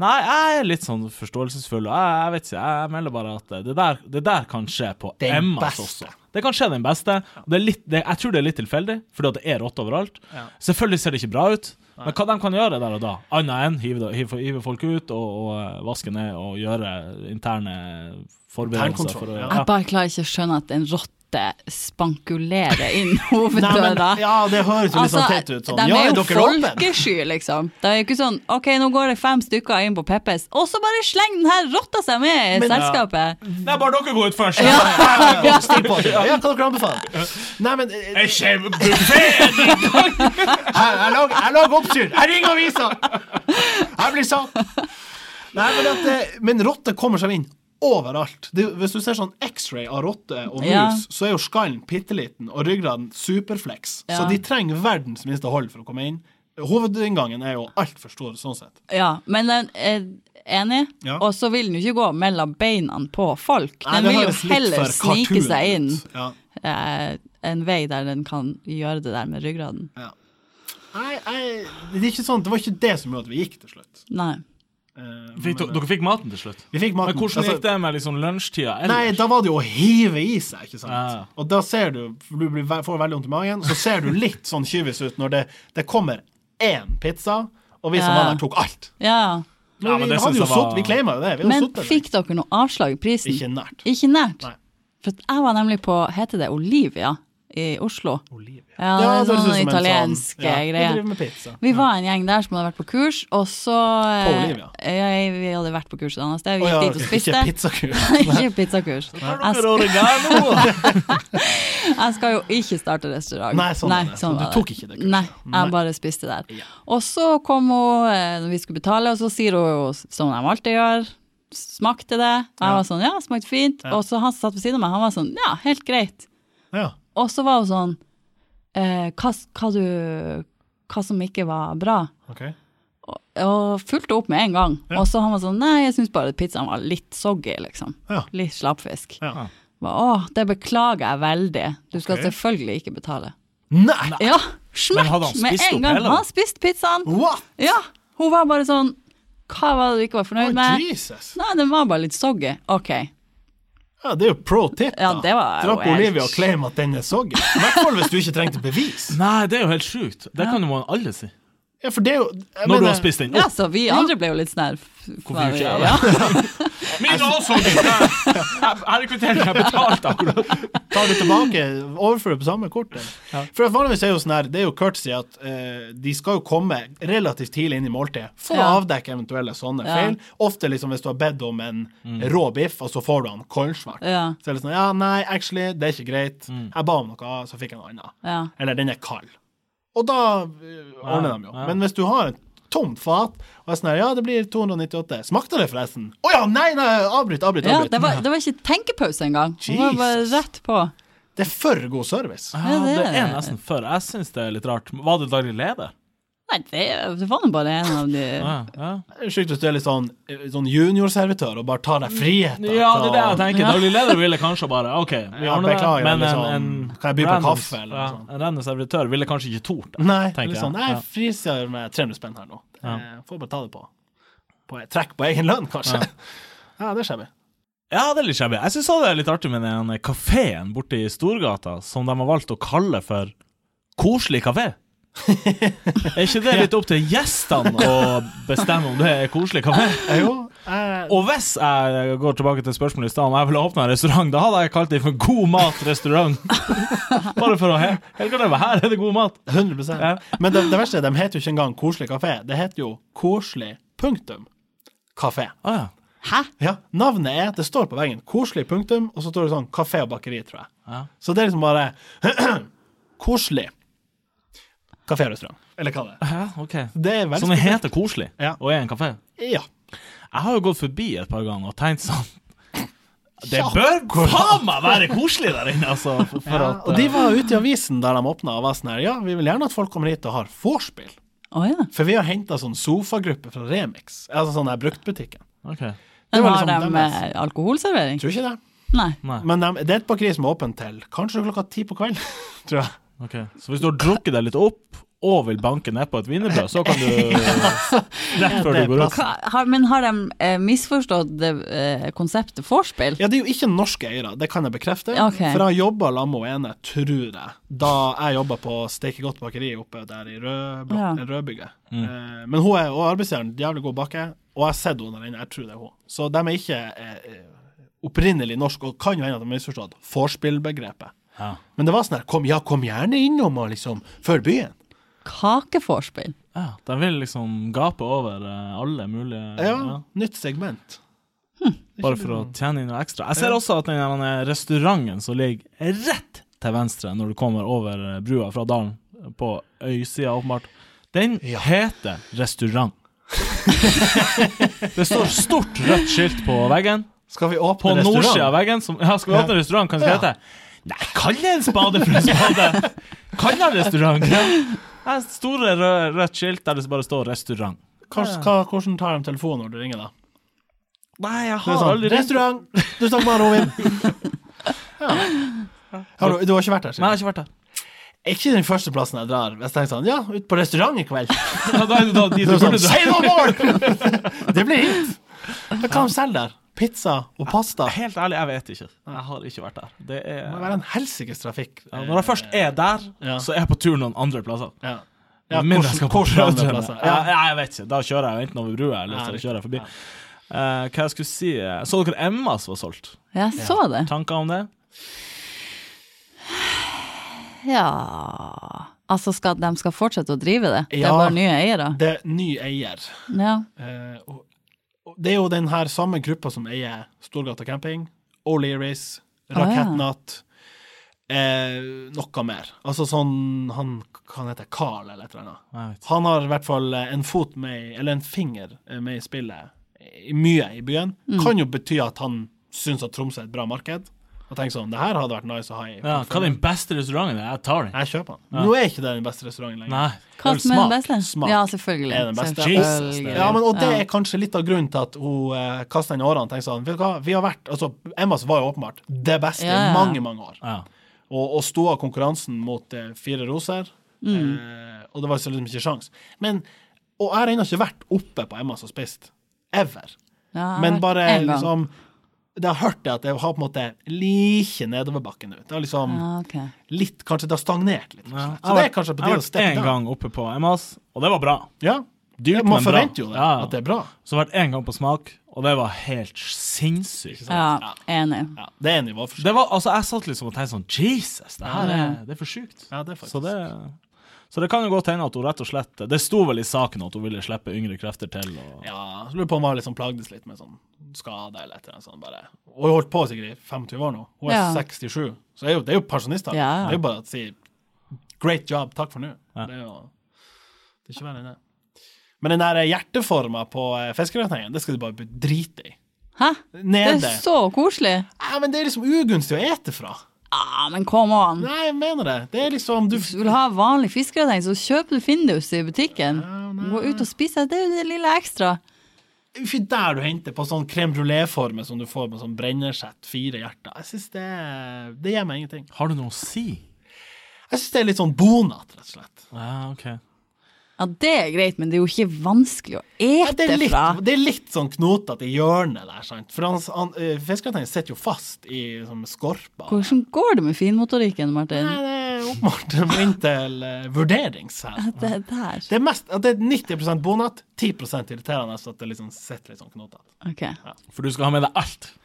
[SPEAKER 3] Nei, jeg er litt sånn forståelsesfull, og jeg, jeg vet ikke, jeg melder bare at det der, det der kan skje på
[SPEAKER 2] Den
[SPEAKER 3] Emmas
[SPEAKER 2] beste.
[SPEAKER 3] også. Det kan skje den beste. og Det er litt, det, jeg tror det er litt tilfeldig, fordi at det er rått overalt.
[SPEAKER 2] Ja.
[SPEAKER 3] Selvfølgelig ser det ikke bra ut, men hva de kan gjøre der og da, annet enn hive, da- hive, hive folk ut og, og eh, vaske ned og gjøre interne forberedelser.
[SPEAKER 2] Internkontroll,
[SPEAKER 3] For, å-
[SPEAKER 2] ja.
[SPEAKER 3] ja.
[SPEAKER 4] Jeg bare klarer ikke å skjønne at en rotte spankulerer inn [laughs]
[SPEAKER 2] Nei, men,
[SPEAKER 4] hoveddøra. Altså,
[SPEAKER 2] ja, det høres jo litt sånn teit ut. Sånn.
[SPEAKER 4] de
[SPEAKER 2] Ja,
[SPEAKER 4] er
[SPEAKER 2] er
[SPEAKER 4] jo
[SPEAKER 2] dere åpne?
[SPEAKER 4] folkesky, liksom. Det er jo ikke sånn OK, nå går det fem stykker inn på Peppes, og så bare slenger den her rotta seg med i
[SPEAKER 2] Men-
[SPEAKER 4] selskapet.
[SPEAKER 3] Nei, bare dere gå ut først!
[SPEAKER 2] Ja, styr på det. Ja, hva dere anbefaler? Nei, men eh,
[SPEAKER 3] Jeg kommer
[SPEAKER 2] [laughs]
[SPEAKER 3] buffeen!
[SPEAKER 2] Jeg, jeg, lag, jeg lager oppstyr! Jeg ringer avisa! Jeg blir satt! Nei, men, at, det- men rotter kommer seg inn overalt. Det, hvis du ser sånn X-ray av rotte og mus,
[SPEAKER 4] Ja.
[SPEAKER 2] så er jo skallen bitte liten og ryggraden superflex.
[SPEAKER 4] Ja.
[SPEAKER 2] Så de trenger verdens minste hold for å komme inn. Hovedinngangen er jo altfor stor sånn sett.
[SPEAKER 4] Ja, men den er enig,
[SPEAKER 2] Ja.
[SPEAKER 4] og så vil den jo ikke gå mellom beina på folk.
[SPEAKER 2] Nei,
[SPEAKER 4] den
[SPEAKER 2] det
[SPEAKER 4] vil jo
[SPEAKER 2] høres litt
[SPEAKER 4] heller
[SPEAKER 2] for
[SPEAKER 4] snike
[SPEAKER 2] cartoon
[SPEAKER 4] seg inn
[SPEAKER 2] ut. Ja.
[SPEAKER 4] eh, en vei der den kan gjøre det der med ryggraden.
[SPEAKER 2] Ja. Nei, jeg, det er ikke sånn, det var ikke det som gjorde at vi gikk til slutt.
[SPEAKER 4] Nei.
[SPEAKER 2] Eh,
[SPEAKER 3] Fikk,
[SPEAKER 2] men,
[SPEAKER 3] dere- dere fikk maten til slutt?
[SPEAKER 2] vi fikk maten.
[SPEAKER 3] Men hvordan
[SPEAKER 2] altså-
[SPEAKER 3] gikk det med liksom lunsjtida
[SPEAKER 2] Nei,
[SPEAKER 3] ellers?
[SPEAKER 2] da var det jo å hive i seg, ikke sant.
[SPEAKER 3] Ja.
[SPEAKER 2] Og da ser du for Du blir, får veldig vondt i magen, så ser du litt sånn kyvisk ut når det, det kommer én pizza, og vi som
[SPEAKER 4] Ja.
[SPEAKER 2] var der, tok alt.
[SPEAKER 4] Ja,
[SPEAKER 2] Men
[SPEAKER 3] Ja, men
[SPEAKER 2] vi
[SPEAKER 3] det
[SPEAKER 2] hadde
[SPEAKER 3] synes
[SPEAKER 2] jo
[SPEAKER 3] jeg var-
[SPEAKER 2] sutt- vi claima jo det. Vi hadde
[SPEAKER 4] Men
[SPEAKER 2] suttet der.
[SPEAKER 4] fikk dere noe avslag i prisen?
[SPEAKER 2] Ikke nært.
[SPEAKER 4] Ikke nært?
[SPEAKER 2] Nei.
[SPEAKER 4] For at jeg var nemlig på, heter det Olivia i Oslo?
[SPEAKER 2] Olivia. Ja,
[SPEAKER 4] Ja,
[SPEAKER 2] det
[SPEAKER 4] det er
[SPEAKER 2] høres ut
[SPEAKER 4] sånn
[SPEAKER 2] som en
[SPEAKER 4] italiensk
[SPEAKER 2] sånn- ja, vi
[SPEAKER 4] greie.
[SPEAKER 2] driver med pizza.
[SPEAKER 4] Vi var en gjeng der som hadde vært på kurs, og så eh,
[SPEAKER 2] På Olivia?
[SPEAKER 4] Ja, vi hadde vært på kurs et annet sted. Vi
[SPEAKER 2] Å ja,
[SPEAKER 4] gikk dit og spiste.
[SPEAKER 2] ikke pizzakul.
[SPEAKER 4] [laughs] Ikke pizzakurs. Jeg
[SPEAKER 3] Dere oregano!
[SPEAKER 4] Jeg skal jo ikke starte restaurant.
[SPEAKER 2] Nei, sånn var det. Du
[SPEAKER 4] var
[SPEAKER 2] tok ikke det kurset.
[SPEAKER 4] Nei,
[SPEAKER 2] Nei.
[SPEAKER 4] jeg bare spiste der.
[SPEAKER 2] Ja.
[SPEAKER 4] Og så kom hun eh, når vi skulle betale, og så sier hun jo som de alltid gjør. Smakte det. Og jeg
[SPEAKER 2] Ja.
[SPEAKER 4] var sånn ja, smakte fint. Og så han som satt ved siden av meg, han var sånn ja, helt greit.
[SPEAKER 2] Ja.
[SPEAKER 4] Og så var hun sånn eh, hva, s- hva du Hva som ikke var bra.
[SPEAKER 2] ok.
[SPEAKER 4] Og fulgte opp med en gang.
[SPEAKER 2] Ja.
[SPEAKER 4] Og så han var sånn nei, jeg syns bare at pizzaen var litt soggy, liksom.
[SPEAKER 2] Ja.
[SPEAKER 4] Litt slappfisk.
[SPEAKER 2] Ja.
[SPEAKER 3] Ah.
[SPEAKER 4] Ba, Åh, det beklager jeg veldig. Du skal
[SPEAKER 2] Ok.
[SPEAKER 4] selvfølgelig ikke betale.
[SPEAKER 2] Nei!
[SPEAKER 4] Ja,
[SPEAKER 3] Men hadde
[SPEAKER 4] smekk
[SPEAKER 3] han
[SPEAKER 4] med
[SPEAKER 3] spist
[SPEAKER 4] en
[SPEAKER 3] opp
[SPEAKER 4] gang.
[SPEAKER 3] hele?
[SPEAKER 4] Han spiste pizzaen.
[SPEAKER 2] What?
[SPEAKER 4] Ja, hun var bare sånn Hva var det du ikke var fornøyd
[SPEAKER 2] Oh,
[SPEAKER 4] med?
[SPEAKER 2] Jesus.
[SPEAKER 4] Nei, den var bare litt soggy. Ok.
[SPEAKER 2] Ja, det er jo pro tip, da.
[SPEAKER 4] Ja, det var
[SPEAKER 2] Dra
[SPEAKER 4] jo
[SPEAKER 2] på
[SPEAKER 4] helt-
[SPEAKER 2] Olivia og claim at den er soggy. I hvert fall hvis du ikke trengte bevis.
[SPEAKER 3] Nei, det er jo helt sjukt. Det kan jo man alle si.
[SPEAKER 2] Ja, for det er jo jeg
[SPEAKER 3] Når du
[SPEAKER 2] mener-
[SPEAKER 3] har spist den
[SPEAKER 4] Ja,
[SPEAKER 3] opp.
[SPEAKER 4] så vi andre ble jo litt sånn her f-
[SPEAKER 3] Hvorfor gjorde ikke jeg det?
[SPEAKER 4] ja.
[SPEAKER 3] Min også! [laughs] Jeg hadde kvittert, jeg betalte akkurat.
[SPEAKER 2] Ta det tilbake, overføre det på samme kortet. For at vanligvis er jo sånn her, det er jo courtesy at eh, de skal jo komme relativt tidlig inn i måltidet for å
[SPEAKER 4] Ja.
[SPEAKER 2] avdekke eventuelle sånne
[SPEAKER 4] Ja.
[SPEAKER 2] feil. Ofte liksom hvis du har bedt om en
[SPEAKER 3] Mm.
[SPEAKER 2] rå biff, og så får du han koldsvart.
[SPEAKER 4] Ja.
[SPEAKER 2] Så er det sånn ja, nei, actually, det er ikke greit.
[SPEAKER 3] Mm.
[SPEAKER 2] Jeg ba om noe, så fikk jeg noe annet.
[SPEAKER 4] Ja.
[SPEAKER 2] Eller den er kald. Og da eh, ordner de jo.
[SPEAKER 3] Ja, ja.
[SPEAKER 2] Men hvis du har et tomt fat, og er sånn her, ja, det blir 298. Smakte det forresten? Å ja, nei, nei, avbryt, avbryt,
[SPEAKER 4] ja
[SPEAKER 2] avbryt.
[SPEAKER 4] det, var, det var ikke tenkepause engang. Hun var bare
[SPEAKER 2] Jesus.
[SPEAKER 4] rett på.
[SPEAKER 2] det er for god service.
[SPEAKER 3] Ja,
[SPEAKER 4] det
[SPEAKER 3] det
[SPEAKER 4] er
[SPEAKER 3] er
[SPEAKER 4] det.
[SPEAKER 3] nesten før. Jeg syns det er litt rart. Var det daglig leder?
[SPEAKER 4] Nei, det, det var nå bare en av de
[SPEAKER 3] Ja, ja.
[SPEAKER 2] Sjukt hvis du er litt sånn, sånn juniorservitør og bare tar deg friheter.
[SPEAKER 3] ja, det er det jeg
[SPEAKER 2] til å-
[SPEAKER 3] tenker. Daglig leder ville kanskje bare OK, vi
[SPEAKER 2] Ja,
[SPEAKER 3] ordner det.
[SPEAKER 2] beklager,
[SPEAKER 3] Men en,
[SPEAKER 2] liksom,
[SPEAKER 3] en,
[SPEAKER 2] kan jeg by på
[SPEAKER 3] random-
[SPEAKER 2] kaffe, eller noe
[SPEAKER 3] ja,
[SPEAKER 2] sånt?
[SPEAKER 3] En random servitør ville kanskje ikke tort det.
[SPEAKER 2] [laughs] Nei,
[SPEAKER 3] tenker
[SPEAKER 2] litt sånn,
[SPEAKER 3] jeg.
[SPEAKER 2] jeg
[SPEAKER 3] Ja.
[SPEAKER 2] friser med 300 spenn her nå.
[SPEAKER 3] Ja.
[SPEAKER 2] Eh, Får bare ta det på. på trekk på egen lønn, kanskje. [laughs] Ja, det skjer meg.
[SPEAKER 3] Ja, det er litt shabby. Jeg syns det er litt artig med den kafeen borte i Storgata, som de har valgt å kalle for Koselig
[SPEAKER 2] [laughs]
[SPEAKER 3] kafé. er ikke det litt opp til gjestene å bestemme om det er koselig kafé?
[SPEAKER 2] Eh, Jo, eh,
[SPEAKER 3] Og hvis jeg går tilbake til spørsmålet i stad om jeg ville åpna en restaurant, da hadde jeg kalt det for God mat-restaurant. Bare for å he Helt klart, her er det god mat.
[SPEAKER 2] 100
[SPEAKER 3] Ja.
[SPEAKER 2] Men det, det verste er, de heter jo ikke engang Koselig kafé. Det heter jo Koselig punktum kafé.
[SPEAKER 3] Å ja.
[SPEAKER 4] Hæ?
[SPEAKER 2] Ja, navnet er, det står på veggen, Koselig punktum, og så står det sånn kafé og bakeri, tror jeg.
[SPEAKER 3] Ja.
[SPEAKER 2] Så det er liksom bare [clears throat] Koselig kafé og restaurant. Eller hva det er.
[SPEAKER 3] ja, ok.
[SPEAKER 2] Det er
[SPEAKER 3] Som
[SPEAKER 2] veldig
[SPEAKER 3] heter Koselig,
[SPEAKER 2] Ja.
[SPEAKER 3] og er en kafé.
[SPEAKER 2] Ja.
[SPEAKER 3] Jeg har jo gått forbi et par ganger og tenkt sånn Det
[SPEAKER 2] Ja,
[SPEAKER 3] bør faen meg være koselig der inne, altså. For, for
[SPEAKER 2] Ja,
[SPEAKER 3] at,
[SPEAKER 2] og de
[SPEAKER 3] eh,
[SPEAKER 2] var ute i avisen der de åpna og var sånn her Ja, vi vil gjerne at folk kommer hit og har vorspiel.
[SPEAKER 4] Å ja.
[SPEAKER 2] For vi har henta sånn sofagruppe fra Remix, altså sånn der bruktbutikken.
[SPEAKER 3] eh, ok.
[SPEAKER 2] Det
[SPEAKER 4] Men
[SPEAKER 2] var
[SPEAKER 4] har
[SPEAKER 2] liksom
[SPEAKER 4] de
[SPEAKER 2] deres.
[SPEAKER 4] eh, alkoholservering?
[SPEAKER 2] Tror ikke det.
[SPEAKER 4] Nei.
[SPEAKER 3] Nei.
[SPEAKER 2] Men de, det er et bakeri som er åpent til kanskje klokka ti på kvelden, [laughs] tror jeg.
[SPEAKER 3] ok. Så hvis du har drukket deg litt opp og vil banke ned på et wienerbrød, så kan [laughs] du Rett før
[SPEAKER 2] det
[SPEAKER 3] du
[SPEAKER 2] er
[SPEAKER 3] går ut.
[SPEAKER 4] Hva, har, men har de eh, misforstått det, eh, konseptet vorspiel?
[SPEAKER 2] Ja, det er jo ikke norske eiere, det kan jeg bekrefte.
[SPEAKER 4] Ok.
[SPEAKER 2] For jeg jobba sammen med henne, tror jeg, da jeg jobba på Stekegodt bakeri oppe der i Rødblå,
[SPEAKER 4] Ja.
[SPEAKER 2] eller Rødbygget. Eh, Men hun er, og arbeidsgiveren, jævlig god baker, og jeg har sett henne der inne, jeg tror det er hun. Så de er ikke eh, eh, opprinnelig norske, og kan jo hende at de har misforstått vorspiel-begrepet.
[SPEAKER 3] Ja.
[SPEAKER 2] Men det var sånn her, kom, ja, kom gjerne innom og liksom, før byen.
[SPEAKER 4] Kakevorspiel?
[SPEAKER 3] Ja, de vil liksom gape over eh, alle mulige
[SPEAKER 2] Ja,
[SPEAKER 3] ja.
[SPEAKER 2] nytt segment.
[SPEAKER 3] Bare for å tjene inn noe ekstra. Jeg ser også at den her restauranten som ligger rett til venstre når du kommer over eh, brua fra dalen, på øysida åpenbart, den
[SPEAKER 2] Ja.
[SPEAKER 3] heter restaurant. [laughs] det står stort rødt skilt på veggen.
[SPEAKER 2] Skal vi
[SPEAKER 3] På
[SPEAKER 2] åpne
[SPEAKER 3] nordsida av
[SPEAKER 2] restaurant?
[SPEAKER 3] veggen som, ja, Skal vi åpne restaurant? Hva skal det
[SPEAKER 2] Ja.
[SPEAKER 3] hete? Nei, kall det en spade for en spade! Kall det en restaurant! Ja. Det er store rød, rødt skilt der det bare står restaurant.
[SPEAKER 2] Kanskje- hva- Hvordan tar de telefonen når du ringer, da?
[SPEAKER 3] Nei, jeg
[SPEAKER 2] Det er sånn, Restaurant! Du snakker med
[SPEAKER 3] [laughs]
[SPEAKER 2] han, Rovin. Ja. Har du, du har ikke vært der,
[SPEAKER 3] Nei, jeg har
[SPEAKER 2] sikkert?
[SPEAKER 3] ikke vært der.
[SPEAKER 2] Ikke den første plassen jeg drar. Hvis jeg tenker sånn, ja, ut på restaurant i kveld.
[SPEAKER 3] Ja, Da er [laughs] det da de
[SPEAKER 2] Det,
[SPEAKER 3] du
[SPEAKER 2] er sånn,
[SPEAKER 3] burde dra.
[SPEAKER 2] «Say no more!
[SPEAKER 3] [laughs]
[SPEAKER 2] det blir hit. Hva kan de selge der? Pizza og pasta? Det
[SPEAKER 3] Helt ærlig, jeg vet ikke. Jeg har ikke vært der. Det er,
[SPEAKER 2] må være en helsikes trafikk.
[SPEAKER 3] ja, når jeg først er der,
[SPEAKER 2] Ja.
[SPEAKER 3] så er jeg på tur noen andre plasser.
[SPEAKER 2] Ja, ja
[SPEAKER 3] Med mindre
[SPEAKER 2] hvordan,
[SPEAKER 3] jeg skal på
[SPEAKER 2] hvordan andre
[SPEAKER 3] Brødrene.
[SPEAKER 2] plasser?
[SPEAKER 3] Ja.
[SPEAKER 2] Ja.
[SPEAKER 3] ja, jeg vet ikke. Da kjører jeg jo enten over brua, eller
[SPEAKER 2] Ja,
[SPEAKER 3] så
[SPEAKER 2] riktig.
[SPEAKER 3] kjører jeg forbi. Eh, hva jeg skulle si eh, Så dere Emmas var solgt?
[SPEAKER 4] Jeg så det.
[SPEAKER 3] Tanker om det?
[SPEAKER 4] Ja Altså, skal, de skal fortsette å drive det? Det
[SPEAKER 2] Ja.
[SPEAKER 4] er bare nye eiere?
[SPEAKER 2] Det er ny eier.
[SPEAKER 4] Ja.
[SPEAKER 2] Eh, og, og det er jo den her samme gruppa som eier Storgata camping, O'Learys, Rakettnatt eh, Noe mer. Altså sånn Han kan hete Carl eller et eller annet.
[SPEAKER 3] Jeg vet.
[SPEAKER 2] Han har i hvert fall eh, en fot med i- Eller en finger eh, med i spillet i mye i byen. Kan jo bety at han syns at Tromsø er et bra marked. Og tenker sånn Det her hadde vært nice å ha i
[SPEAKER 3] Ja, hva er den beste restauranten? Jeg tar den.
[SPEAKER 2] Jeg kjøper den. Nå er ikke det den beste restauranten lenger.
[SPEAKER 3] Nei.
[SPEAKER 4] Hva som er den
[SPEAKER 2] smak,
[SPEAKER 4] beste?
[SPEAKER 2] smak
[SPEAKER 4] Ja, selvfølgelig.
[SPEAKER 2] er den beste.
[SPEAKER 4] Selvfølgelig.
[SPEAKER 3] Jesus, det er-
[SPEAKER 2] Ja, men, og det er kanskje litt av grunnen til at hun eh, kasta inn årene. Tenkte sånn, vet du hva, vi har vært, altså, Emmas var jo åpenbart det beste
[SPEAKER 4] Ja, ja.
[SPEAKER 2] i mange mange år.
[SPEAKER 3] Ja.
[SPEAKER 2] Og, og sto av konkurransen mot eh, Fire roser.
[SPEAKER 4] Mm.
[SPEAKER 2] Eh, og det var så liksom ikke sjans. Men, Og jeg har ennå ikke vært oppe på Emmas og spist. Ever.
[SPEAKER 4] Ja, jeg
[SPEAKER 2] Men
[SPEAKER 4] har
[SPEAKER 2] bare
[SPEAKER 4] vært en gang.
[SPEAKER 2] liksom Det har hørt det at det har på en måte like nedoverbakke nå. Det har liksom
[SPEAKER 4] ja, ok.
[SPEAKER 2] litt, kanskje det har stagnert litt. liksom.
[SPEAKER 3] Ja.
[SPEAKER 2] Så det er kanskje på
[SPEAKER 3] Jeg har
[SPEAKER 2] tide å
[SPEAKER 3] vært
[SPEAKER 2] steppe
[SPEAKER 3] én
[SPEAKER 2] down.
[SPEAKER 3] gang oppe på Emmas, og det var bra.
[SPEAKER 2] Ja.
[SPEAKER 3] Dyrt,
[SPEAKER 2] Man
[SPEAKER 3] men bra.
[SPEAKER 2] forventer jo det,
[SPEAKER 3] Ja, ja.
[SPEAKER 2] at det er bra.
[SPEAKER 3] Så har jeg vært én gang på smak, og det var helt sinnssykt.
[SPEAKER 4] Ja, enig.
[SPEAKER 2] Ja, det er nivåforskjell.
[SPEAKER 3] Det var, altså, jeg satt liksom og tenkte sånn Jesus, det her er, det er for sjukt.
[SPEAKER 2] Ja, det er
[SPEAKER 3] så,
[SPEAKER 2] faktisk
[SPEAKER 3] det, så det kan jo godt hende at hun rett og slett Det sto vel i saken at hun ville slippe yngre krefter til. Og,
[SPEAKER 2] Ja, så lurer jeg på om hun liksom plagdes litt med sånn skade eller et eller annet sånt. bare. Og hun har holdt på sikkert i 25 år nå. Hun er
[SPEAKER 4] Ja.
[SPEAKER 2] 67, så det er jo, det er jo pensjonister.
[SPEAKER 4] Ja.
[SPEAKER 2] Det er jo bare å si 'great job, takk for nå'. Det er jo det er ikke verre enn det. Men den der hjerteforma på eh, fiskerøkningen, det skal du bare be- drite i.
[SPEAKER 4] Hæ? Det
[SPEAKER 2] Nede.
[SPEAKER 4] er så koselig!
[SPEAKER 2] Ja, men det er liksom ugunstig å ete fra.
[SPEAKER 4] Ah, men come on!
[SPEAKER 2] Nei, jeg mener det. Det er liksom du,
[SPEAKER 4] Hvis du vil ha vanlig fiskegratin, så kjøper du Findus i butikken. Gå ut og spis det. Det er jo det lille ekstra.
[SPEAKER 2] Fy der du henter på sånn crème brulé-forme som du får med sånn brennersett, fire hjerter. Jeg synes det, det gir meg ingenting.
[SPEAKER 3] Har du noe å si?
[SPEAKER 2] Jeg synes det er litt sånn bonat, rett og slett.
[SPEAKER 3] Ja, ok.
[SPEAKER 4] Ja, det er greit, men det er jo ikke vanskelig å
[SPEAKER 2] Ja, det,
[SPEAKER 4] ete
[SPEAKER 2] er litt,
[SPEAKER 4] fra.
[SPEAKER 2] det er litt sånn knotete i hjørnet der, sant. For han, han, eh, fiskegratengen sitter jo fast i sånn skorpa.
[SPEAKER 4] Hvordan går det med finmotorikken, Martin?
[SPEAKER 2] Nei, det er oppmalt inntil uh, vurderings her.
[SPEAKER 4] Det der.
[SPEAKER 2] Det er, mest, at det er 90 bonat, 10 irriterende, så at det liksom sitter litt sånn knotete.
[SPEAKER 4] Ok.
[SPEAKER 3] For du skal ha med deg alt.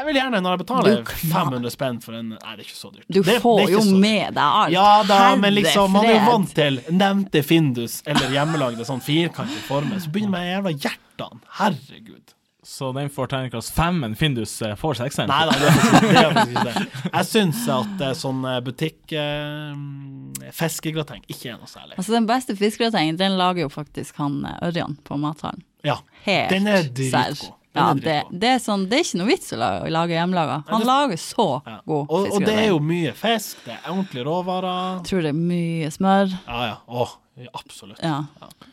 [SPEAKER 2] Jeg vil gjerne, når jeg betaler
[SPEAKER 4] Du klar-
[SPEAKER 2] 500 spenn for en Nei, det er ikke så dyrt.
[SPEAKER 4] Du
[SPEAKER 2] Det- det er
[SPEAKER 4] får
[SPEAKER 2] ikke
[SPEAKER 4] jo
[SPEAKER 2] så dyrt.
[SPEAKER 4] med deg alt.
[SPEAKER 2] Ja da, men liksom, man er jo
[SPEAKER 4] Herrefred.
[SPEAKER 2] vant til nevnte Findus eller hjemmelagde sånn firkantede former. Så begynner man med jævla hjertene. Herregud.
[SPEAKER 3] Så den får terningkast fem, men Findus eh, får sekseren.
[SPEAKER 2] Nei da, det er faktisk det er faktisk ikke det. Jeg syns at eh, sånn eh, butikk eh, Fiskegrateng ikke er noe særlig.
[SPEAKER 4] Altså, den beste fiskegratengen, den lager jo faktisk han eh, Ørjan på mathallen.
[SPEAKER 2] Ja.
[SPEAKER 4] Helt
[SPEAKER 2] Den er
[SPEAKER 4] sær.
[SPEAKER 2] dritgod. Den
[SPEAKER 4] Ja,
[SPEAKER 2] er
[SPEAKER 4] det,
[SPEAKER 2] dritgod.
[SPEAKER 4] det, er sånn, det er ikke noe vits å la- å lage hjemmelaga. Han lager så
[SPEAKER 2] Ja. Og,
[SPEAKER 4] god
[SPEAKER 2] og det er
[SPEAKER 4] fiskegrateng.
[SPEAKER 2] jo mye fisk, det er ordentlige råvarer.
[SPEAKER 4] Jeg tror det er mye smør.
[SPEAKER 2] Ja ja, åh, absolutt.
[SPEAKER 4] Ja.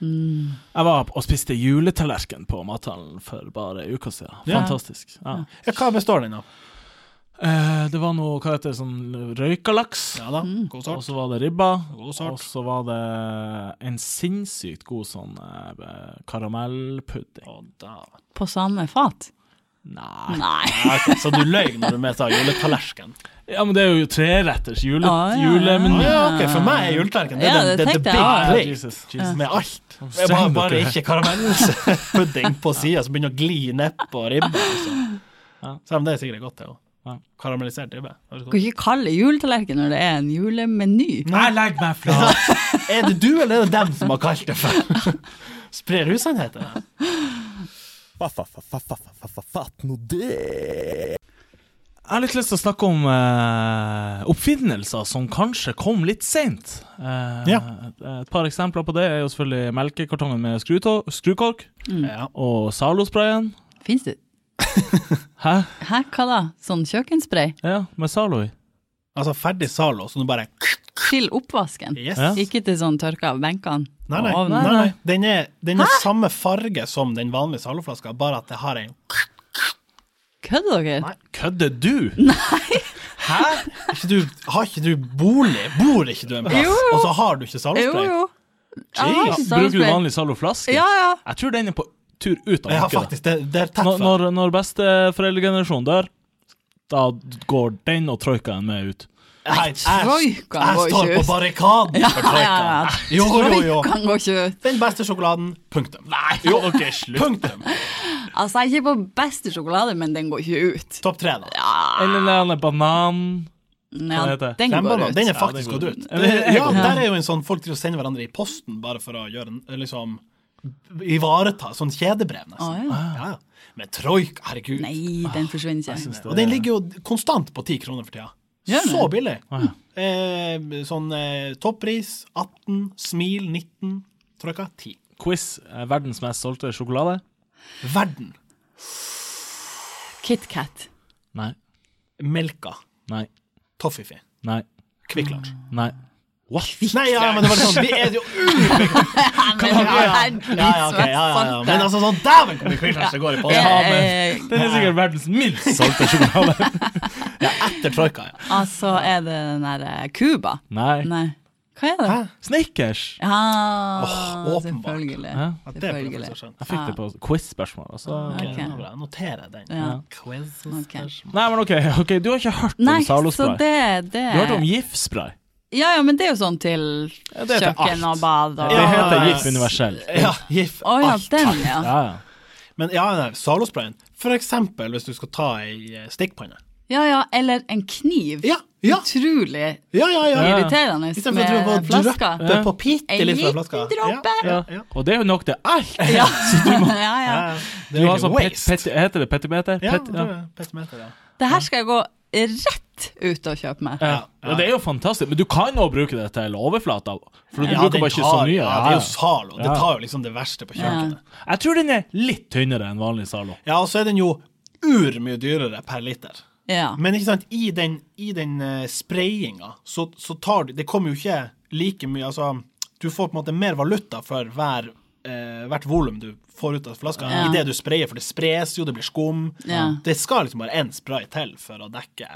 [SPEAKER 3] Jeg var og spiste juletallerken på mathallen for bare en uke siden.
[SPEAKER 2] Ja.
[SPEAKER 3] Fantastisk. Ja.
[SPEAKER 2] Ja, hva består den av?
[SPEAKER 3] Eh, det var noe hva heter det, sånn røykalaks.
[SPEAKER 2] Ja da,
[SPEAKER 4] Mm.
[SPEAKER 2] god
[SPEAKER 3] Og
[SPEAKER 2] sort.
[SPEAKER 3] så var det ribba.
[SPEAKER 2] God sort.
[SPEAKER 3] Og så var det en sinnssykt god sånn eh, karamellpudding.
[SPEAKER 2] Å, da.
[SPEAKER 4] På samme fat?
[SPEAKER 3] Nei
[SPEAKER 4] Nei.
[SPEAKER 2] Ja, ok, Så du løy når du medtar juletallersken?
[SPEAKER 3] Ja, men det er jo treretters jule,
[SPEAKER 4] Ah, ja, ja.
[SPEAKER 2] Å
[SPEAKER 3] julemeny.
[SPEAKER 2] ja, ok, for meg er juletallerken det,
[SPEAKER 4] Ja,
[SPEAKER 2] er den-
[SPEAKER 4] det
[SPEAKER 2] det, er
[SPEAKER 4] tenkte
[SPEAKER 2] the
[SPEAKER 4] jeg
[SPEAKER 2] big
[SPEAKER 4] også.
[SPEAKER 2] plate
[SPEAKER 3] Jesus, Jesus.
[SPEAKER 2] med alt.
[SPEAKER 3] Ja.
[SPEAKER 2] Det var
[SPEAKER 3] Streng
[SPEAKER 2] bare
[SPEAKER 3] dere.
[SPEAKER 2] ikke [laughs] karamellpudding på sida som begynner å gli nedpå ribba. Liksom.
[SPEAKER 3] Ja.
[SPEAKER 2] Selv om det er sikkert godt, det
[SPEAKER 3] Ja.
[SPEAKER 2] òg. Karamellisert ribbe. høres
[SPEAKER 4] Du kan
[SPEAKER 2] godt.
[SPEAKER 4] ikke kalle det juletallerken når det er en julemeny.
[SPEAKER 3] Jeg legger meg flat.
[SPEAKER 2] Er det du eller er det dem som har kalt
[SPEAKER 3] [laughs]
[SPEAKER 2] det for? Sprer usannheter. her.
[SPEAKER 1] Fatt nå det!
[SPEAKER 3] Jeg har litt lyst til å snakke om eh, oppfinnelser som kanskje kom litt seint. Eh,
[SPEAKER 2] Ja.
[SPEAKER 3] Et par eksempler på det er jo selvfølgelig melkekartongen med skrutå- skrukork
[SPEAKER 4] Mm.
[SPEAKER 2] Ja.
[SPEAKER 3] og Zalo-sprayen.
[SPEAKER 4] Fins det
[SPEAKER 3] Hæ?
[SPEAKER 4] Hæ, hva da? Sånn kjøkkenspray?
[SPEAKER 3] Ja, med Zalo i.
[SPEAKER 2] Altså ferdig Zalo, så nå bare
[SPEAKER 4] Til oppvasken?
[SPEAKER 2] Yes.
[SPEAKER 3] Ja.
[SPEAKER 4] Ikke til sånn tørka av benkene?
[SPEAKER 2] Nei, nei.
[SPEAKER 4] Å,
[SPEAKER 2] nei, nei. Den er, den er samme farge som den vanlige Zalo-flaska, bare at det har en
[SPEAKER 4] Kødder dere?
[SPEAKER 2] Nei.
[SPEAKER 3] Kødder du? Nei! Hæ?
[SPEAKER 2] ikke du, Har ikke du bolig? Bor ikke du en plass?
[SPEAKER 4] Jo, jo.
[SPEAKER 2] Og så har du ikke
[SPEAKER 4] Jo,
[SPEAKER 2] Zalo-spray?
[SPEAKER 4] jo. Jeg har ikke
[SPEAKER 3] Bruker du
[SPEAKER 4] salgspray.
[SPEAKER 3] vanlig Zalo-flaske?
[SPEAKER 4] Ja, ja.
[SPEAKER 3] Jeg tror den er på tur ut av
[SPEAKER 2] Jeg har
[SPEAKER 3] markedet.
[SPEAKER 2] faktisk det. Det er tett
[SPEAKER 3] Når,
[SPEAKER 2] for.
[SPEAKER 3] når, når besteforeldregenerasjonen dør, da går den og troikaen med ut.
[SPEAKER 2] Nei, jeg, jeg
[SPEAKER 4] troika går
[SPEAKER 2] står
[SPEAKER 4] ikke
[SPEAKER 2] på
[SPEAKER 4] ut.
[SPEAKER 2] barrikaden for
[SPEAKER 4] ja,
[SPEAKER 2] troika.
[SPEAKER 4] ja.
[SPEAKER 2] Jo, jo, jo.
[SPEAKER 4] Kan gå ikke ut.
[SPEAKER 2] Den beste sjokoladen. Punktum. Nei,
[SPEAKER 3] ok, slutt.
[SPEAKER 2] punktum.
[SPEAKER 4] Altså, jeg er ikke på beste sjokolade, men den går ikke ut.
[SPEAKER 2] Topp tre, da.
[SPEAKER 3] Eller den der banan...
[SPEAKER 4] Ja,
[SPEAKER 3] Hva heter det?
[SPEAKER 4] den
[SPEAKER 2] Den,
[SPEAKER 4] går
[SPEAKER 2] banan-
[SPEAKER 4] ut.
[SPEAKER 2] den er faktisk
[SPEAKER 3] Ja, den
[SPEAKER 2] gått
[SPEAKER 3] går
[SPEAKER 2] ut.
[SPEAKER 3] ut.
[SPEAKER 2] Det,
[SPEAKER 3] Eller-
[SPEAKER 2] ja, der er jo en sånn folk til å sende hverandre i posten bare for å gjøre en- liksom ivareta sånn kjedebrev, nesten.
[SPEAKER 4] Å, ja.
[SPEAKER 2] Ja, ja. Men troika, herregud.
[SPEAKER 4] Nei, den forsvinner
[SPEAKER 2] Ah,
[SPEAKER 4] ikke.
[SPEAKER 2] Og den ligger jo konstant på 10 kroner for tida.
[SPEAKER 4] Gjør den?
[SPEAKER 2] Så billig.
[SPEAKER 3] Ah,
[SPEAKER 2] Eh, sånn eh, toppris 18, smil 19, troika 10.
[SPEAKER 3] Quiz. eh, Verdens mest solgte sjokolade?
[SPEAKER 2] Verden. [laughs]
[SPEAKER 4] KitKat.
[SPEAKER 3] Nei.
[SPEAKER 2] Melka.
[SPEAKER 3] Nei.
[SPEAKER 2] Toffifi.
[SPEAKER 3] Nei.
[SPEAKER 2] Kvikk Lunsj.
[SPEAKER 3] Nei. What?
[SPEAKER 2] Nei, ja, men det var litt sånn Vi er jo
[SPEAKER 4] Men
[SPEAKER 2] [laughs] ja, ja. Ja, ja, ok, ja, ja, ja. Men altså sånn Dæven, hvor mye Kvikk Lunsj det går i posten!
[SPEAKER 4] Ja,
[SPEAKER 2] Ja, men- altså,
[SPEAKER 4] eh,
[SPEAKER 3] [laughs] Den er sikkert verdens minst solgte sjokolade.
[SPEAKER 2] Ja, etter troika, ja.
[SPEAKER 4] altså er det den derre Cuba.
[SPEAKER 3] Nei.
[SPEAKER 4] Nei, hva er det?
[SPEAKER 2] Hæ?
[SPEAKER 3] Snickers.
[SPEAKER 4] Ja,
[SPEAKER 2] Åh, åpenbart.
[SPEAKER 4] selvfølgelig.
[SPEAKER 3] Ja.
[SPEAKER 2] Ja, Det altså. burde jeg faktisk
[SPEAKER 4] Selvfølgelig.
[SPEAKER 2] ha skjønt.
[SPEAKER 3] Jeg fikk det på quiz-spørsmål. Altså.
[SPEAKER 2] Ok,
[SPEAKER 4] Ok.
[SPEAKER 2] nå bra. Jeg noterer den.
[SPEAKER 4] Ja.
[SPEAKER 2] Quiz
[SPEAKER 4] Ok.
[SPEAKER 3] Nei, men OK, [laughs] ok, du har ikke hørt om
[SPEAKER 4] Nei, så
[SPEAKER 3] Zalo-spray?
[SPEAKER 4] det, det
[SPEAKER 3] Du har hørt om GIF-spray?
[SPEAKER 4] Ja, ja, men det er jo sånn til
[SPEAKER 3] det er til
[SPEAKER 4] kjøkken
[SPEAKER 3] alt.
[SPEAKER 4] og bad og
[SPEAKER 3] Det
[SPEAKER 2] Ja.
[SPEAKER 3] heter GIF universell.
[SPEAKER 2] Ja, gif.
[SPEAKER 4] Å ja,
[SPEAKER 2] alt.
[SPEAKER 4] den, ja.
[SPEAKER 3] Ja, ja.
[SPEAKER 2] Men ja, nei, Zalosprayen. For eksempel hvis du skal ta ei eh, stikkpanne.
[SPEAKER 4] Ja ja, eller en kniv.
[SPEAKER 2] Ja, ja,
[SPEAKER 4] Utrolig
[SPEAKER 2] ja, ja, ja.
[SPEAKER 3] Ja.
[SPEAKER 4] irriterende
[SPEAKER 2] Istedenfor at du bare
[SPEAKER 4] med flasker.
[SPEAKER 2] drypper på bitte
[SPEAKER 4] En
[SPEAKER 2] litt fra
[SPEAKER 4] liten
[SPEAKER 2] flaska.
[SPEAKER 4] dråpe.
[SPEAKER 2] Ja,
[SPEAKER 3] Ja.
[SPEAKER 2] ja, ja.
[SPEAKER 3] Og det er jo nok til alt!
[SPEAKER 4] Ja, [laughs] ja, ja.
[SPEAKER 2] [laughs] Ja, Det
[SPEAKER 3] Du
[SPEAKER 2] er
[SPEAKER 3] har
[SPEAKER 2] egentlig
[SPEAKER 3] sånn pet,
[SPEAKER 2] waste.
[SPEAKER 3] pet, heter det petimeter?
[SPEAKER 2] Ja,
[SPEAKER 3] Pet-
[SPEAKER 2] det
[SPEAKER 3] ja.
[SPEAKER 2] er petimeter, ja.
[SPEAKER 4] Det her skal jeg gå rett ut og kjøpe meg.
[SPEAKER 3] Ja.
[SPEAKER 2] Ja.
[SPEAKER 3] ja, det er jo fantastisk. Men du kan òg bruke det til overflata. For du
[SPEAKER 2] Ja,
[SPEAKER 3] bruker
[SPEAKER 2] den
[SPEAKER 3] bare ikke så
[SPEAKER 2] tar-
[SPEAKER 3] mye.
[SPEAKER 2] Ja,
[SPEAKER 3] Ja,
[SPEAKER 2] det er jo Zalo. Det
[SPEAKER 3] Ja.
[SPEAKER 2] tar jo liksom det verste på kjøkkenet.
[SPEAKER 3] ja. Jeg tror den er litt tynnere enn vanlig Zalo.
[SPEAKER 2] Ja, og så er den jo urmye dyrere per liter.
[SPEAKER 4] Ja.
[SPEAKER 2] Men ikke sant, i den, i den eh, sprayinga, så, så tar de Det kommer jo ikke like mye Altså, du får på en måte mer valuta for hver, eh, hvert volum du får ut av flaska,
[SPEAKER 4] Ja.
[SPEAKER 2] i det du sprayer, for det spres jo, det blir skum.
[SPEAKER 4] Ja.
[SPEAKER 2] Det skal liksom bare én spray til for å dekke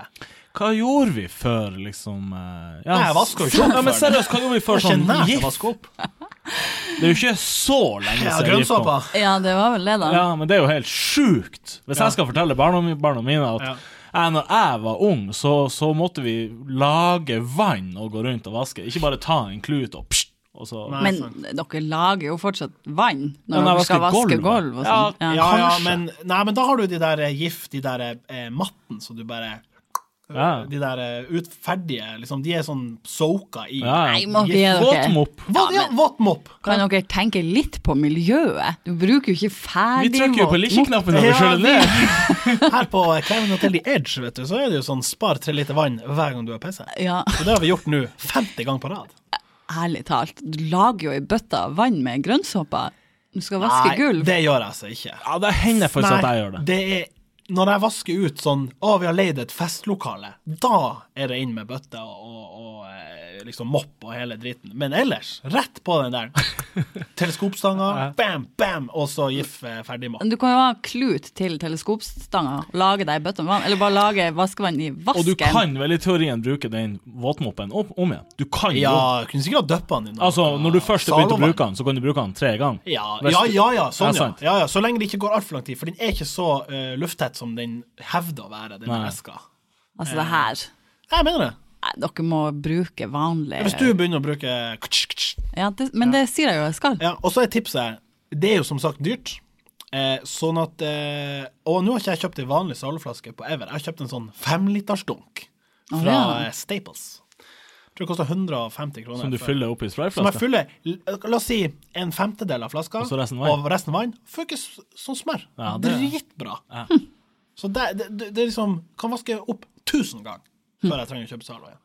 [SPEAKER 3] Hva gjorde vi før, liksom eh, ja,
[SPEAKER 2] Nei, jeg vasker jo ikke opp
[SPEAKER 3] Ja, men
[SPEAKER 2] før.
[SPEAKER 3] seriøst, hva gjorde vi før
[SPEAKER 2] Ikke
[SPEAKER 3] sånn
[SPEAKER 2] nært å
[SPEAKER 3] gift?
[SPEAKER 2] vaske opp.
[SPEAKER 3] Det er jo ikke så lenge
[SPEAKER 2] Ja,
[SPEAKER 3] siden gift kom.
[SPEAKER 2] grønnsåpa.
[SPEAKER 4] ja, det var vel det, da.
[SPEAKER 3] Ja, men det er jo helt sjukt. Hvis
[SPEAKER 2] Ja.
[SPEAKER 3] jeg skal fortelle barna, mi- barna mine at
[SPEAKER 2] Ja.
[SPEAKER 3] jeg, når jeg var ung, så, så måtte vi lage vann og gå rundt og vaske. Ikke bare ta en klut og pst, og så
[SPEAKER 2] Nei.
[SPEAKER 4] Men dere lager jo fortsatt vann
[SPEAKER 3] Ja,
[SPEAKER 4] når
[SPEAKER 3] når
[SPEAKER 4] dere
[SPEAKER 3] jeg
[SPEAKER 4] skal
[SPEAKER 3] vasker
[SPEAKER 4] vaske
[SPEAKER 3] gulvet.
[SPEAKER 4] gulv og sånn.
[SPEAKER 3] Ja,
[SPEAKER 2] Ja, ja,
[SPEAKER 3] Kanskje.
[SPEAKER 2] men, nei, men da har du de der eh, gift, de der eh, matten, så du bare
[SPEAKER 3] Ja.
[SPEAKER 2] De der eh, utferdige, liksom, de er sånn soaka i.
[SPEAKER 3] ja,
[SPEAKER 4] Nei, må vi
[SPEAKER 3] ja.
[SPEAKER 4] gjøre
[SPEAKER 3] Våt
[SPEAKER 4] dere.
[SPEAKER 3] mopp.
[SPEAKER 2] Hva, ja, Våtmopp!
[SPEAKER 4] Kan dere tenke litt på miljøet? Du bruker jo
[SPEAKER 3] Vi
[SPEAKER 4] ikke ferdig
[SPEAKER 3] trykker jo på likkeknappen når vi
[SPEAKER 2] Ja,
[SPEAKER 3] skjøler
[SPEAKER 2] vi- [laughs]
[SPEAKER 3] ned.
[SPEAKER 2] Her på Clavin Hotel The Edge, vet du, så er det jo sånn spar tre liter vann hver gang du har pisse.
[SPEAKER 4] Ja,
[SPEAKER 2] Og det har vi gjort nå 50 ganger på rad.
[SPEAKER 4] ærlig talt. Du lager jo ei bøtte av vann med grønnsåper. Du skal vaske gulv.
[SPEAKER 2] det gjør jeg altså ikke.
[SPEAKER 3] Ja, det hender faktisk at jeg gjør det.
[SPEAKER 2] det er når jeg vasker ut sånn Å, vi har leid et festlokale. Da er det inn med bøtte og, og, og eh, liksom mopp og hele driten. Men ellers, rett på
[SPEAKER 3] [laughs]
[SPEAKER 2] den der. Teleskopstanga, bam, bam, og så gif eh, ferdig mopp.
[SPEAKER 4] Men Du kan jo ha klut til teleskopstanga, lage deg ei bøtte med vann, eller bare lage vaskevann i
[SPEAKER 3] Og du
[SPEAKER 4] vasken.
[SPEAKER 3] kan vel i teorien bruke den våtmoppen om, om igjen. Du kan jo.
[SPEAKER 2] Ja, kunne sikkert ha døppa den i noe.
[SPEAKER 3] Altså, når du først har begynt å
[SPEAKER 2] Saloman.
[SPEAKER 3] bruke den, så kan du bruke den tre ganger.
[SPEAKER 2] Ja,
[SPEAKER 3] Hvis
[SPEAKER 2] ja,
[SPEAKER 3] du-
[SPEAKER 2] ja, ja, sånn,
[SPEAKER 3] Ja,
[SPEAKER 2] ja.
[SPEAKER 3] sant.
[SPEAKER 2] ja, ja. Så lenge det ikke går altfor lang tid, for den er ikke så eh, lufttett som den hevder å være, den
[SPEAKER 3] Nei.
[SPEAKER 2] eska.
[SPEAKER 4] Altså det her.
[SPEAKER 2] Jeg mener det.
[SPEAKER 4] Nei, dere må bruke vanlig
[SPEAKER 2] Hvis du
[SPEAKER 3] Eh.
[SPEAKER 2] begynner å bruke kutsch, kutsch.
[SPEAKER 4] ja, det, Men det sier jeg jo jeg skal.
[SPEAKER 2] Ja, Og så er tipset Det er jo som sagt dyrt. Eh, sånn at eh, Og nå har ikke jeg kjøpt ei vanlig saluflaske på Ever. Jeg har kjøpt en sånn femlitersdunk fra
[SPEAKER 4] Å, ja.
[SPEAKER 2] eh, Staples. Jeg tror det koster 150 kroner.
[SPEAKER 3] Som du
[SPEAKER 2] for-
[SPEAKER 3] fyller opp i
[SPEAKER 2] Som jeg
[SPEAKER 3] sprayflaska.
[SPEAKER 2] fyller l- La oss si en femtedel av flaska,
[SPEAKER 3] Og så resten vann.
[SPEAKER 2] og resten vann. Funkes som smør.
[SPEAKER 3] Ja, det-
[SPEAKER 2] Dritbra.
[SPEAKER 3] Ja.
[SPEAKER 2] Så det, det, det, det er liksom Kan vaske opp tusen ganger før jeg trenger å kjøpe Zalo igjen.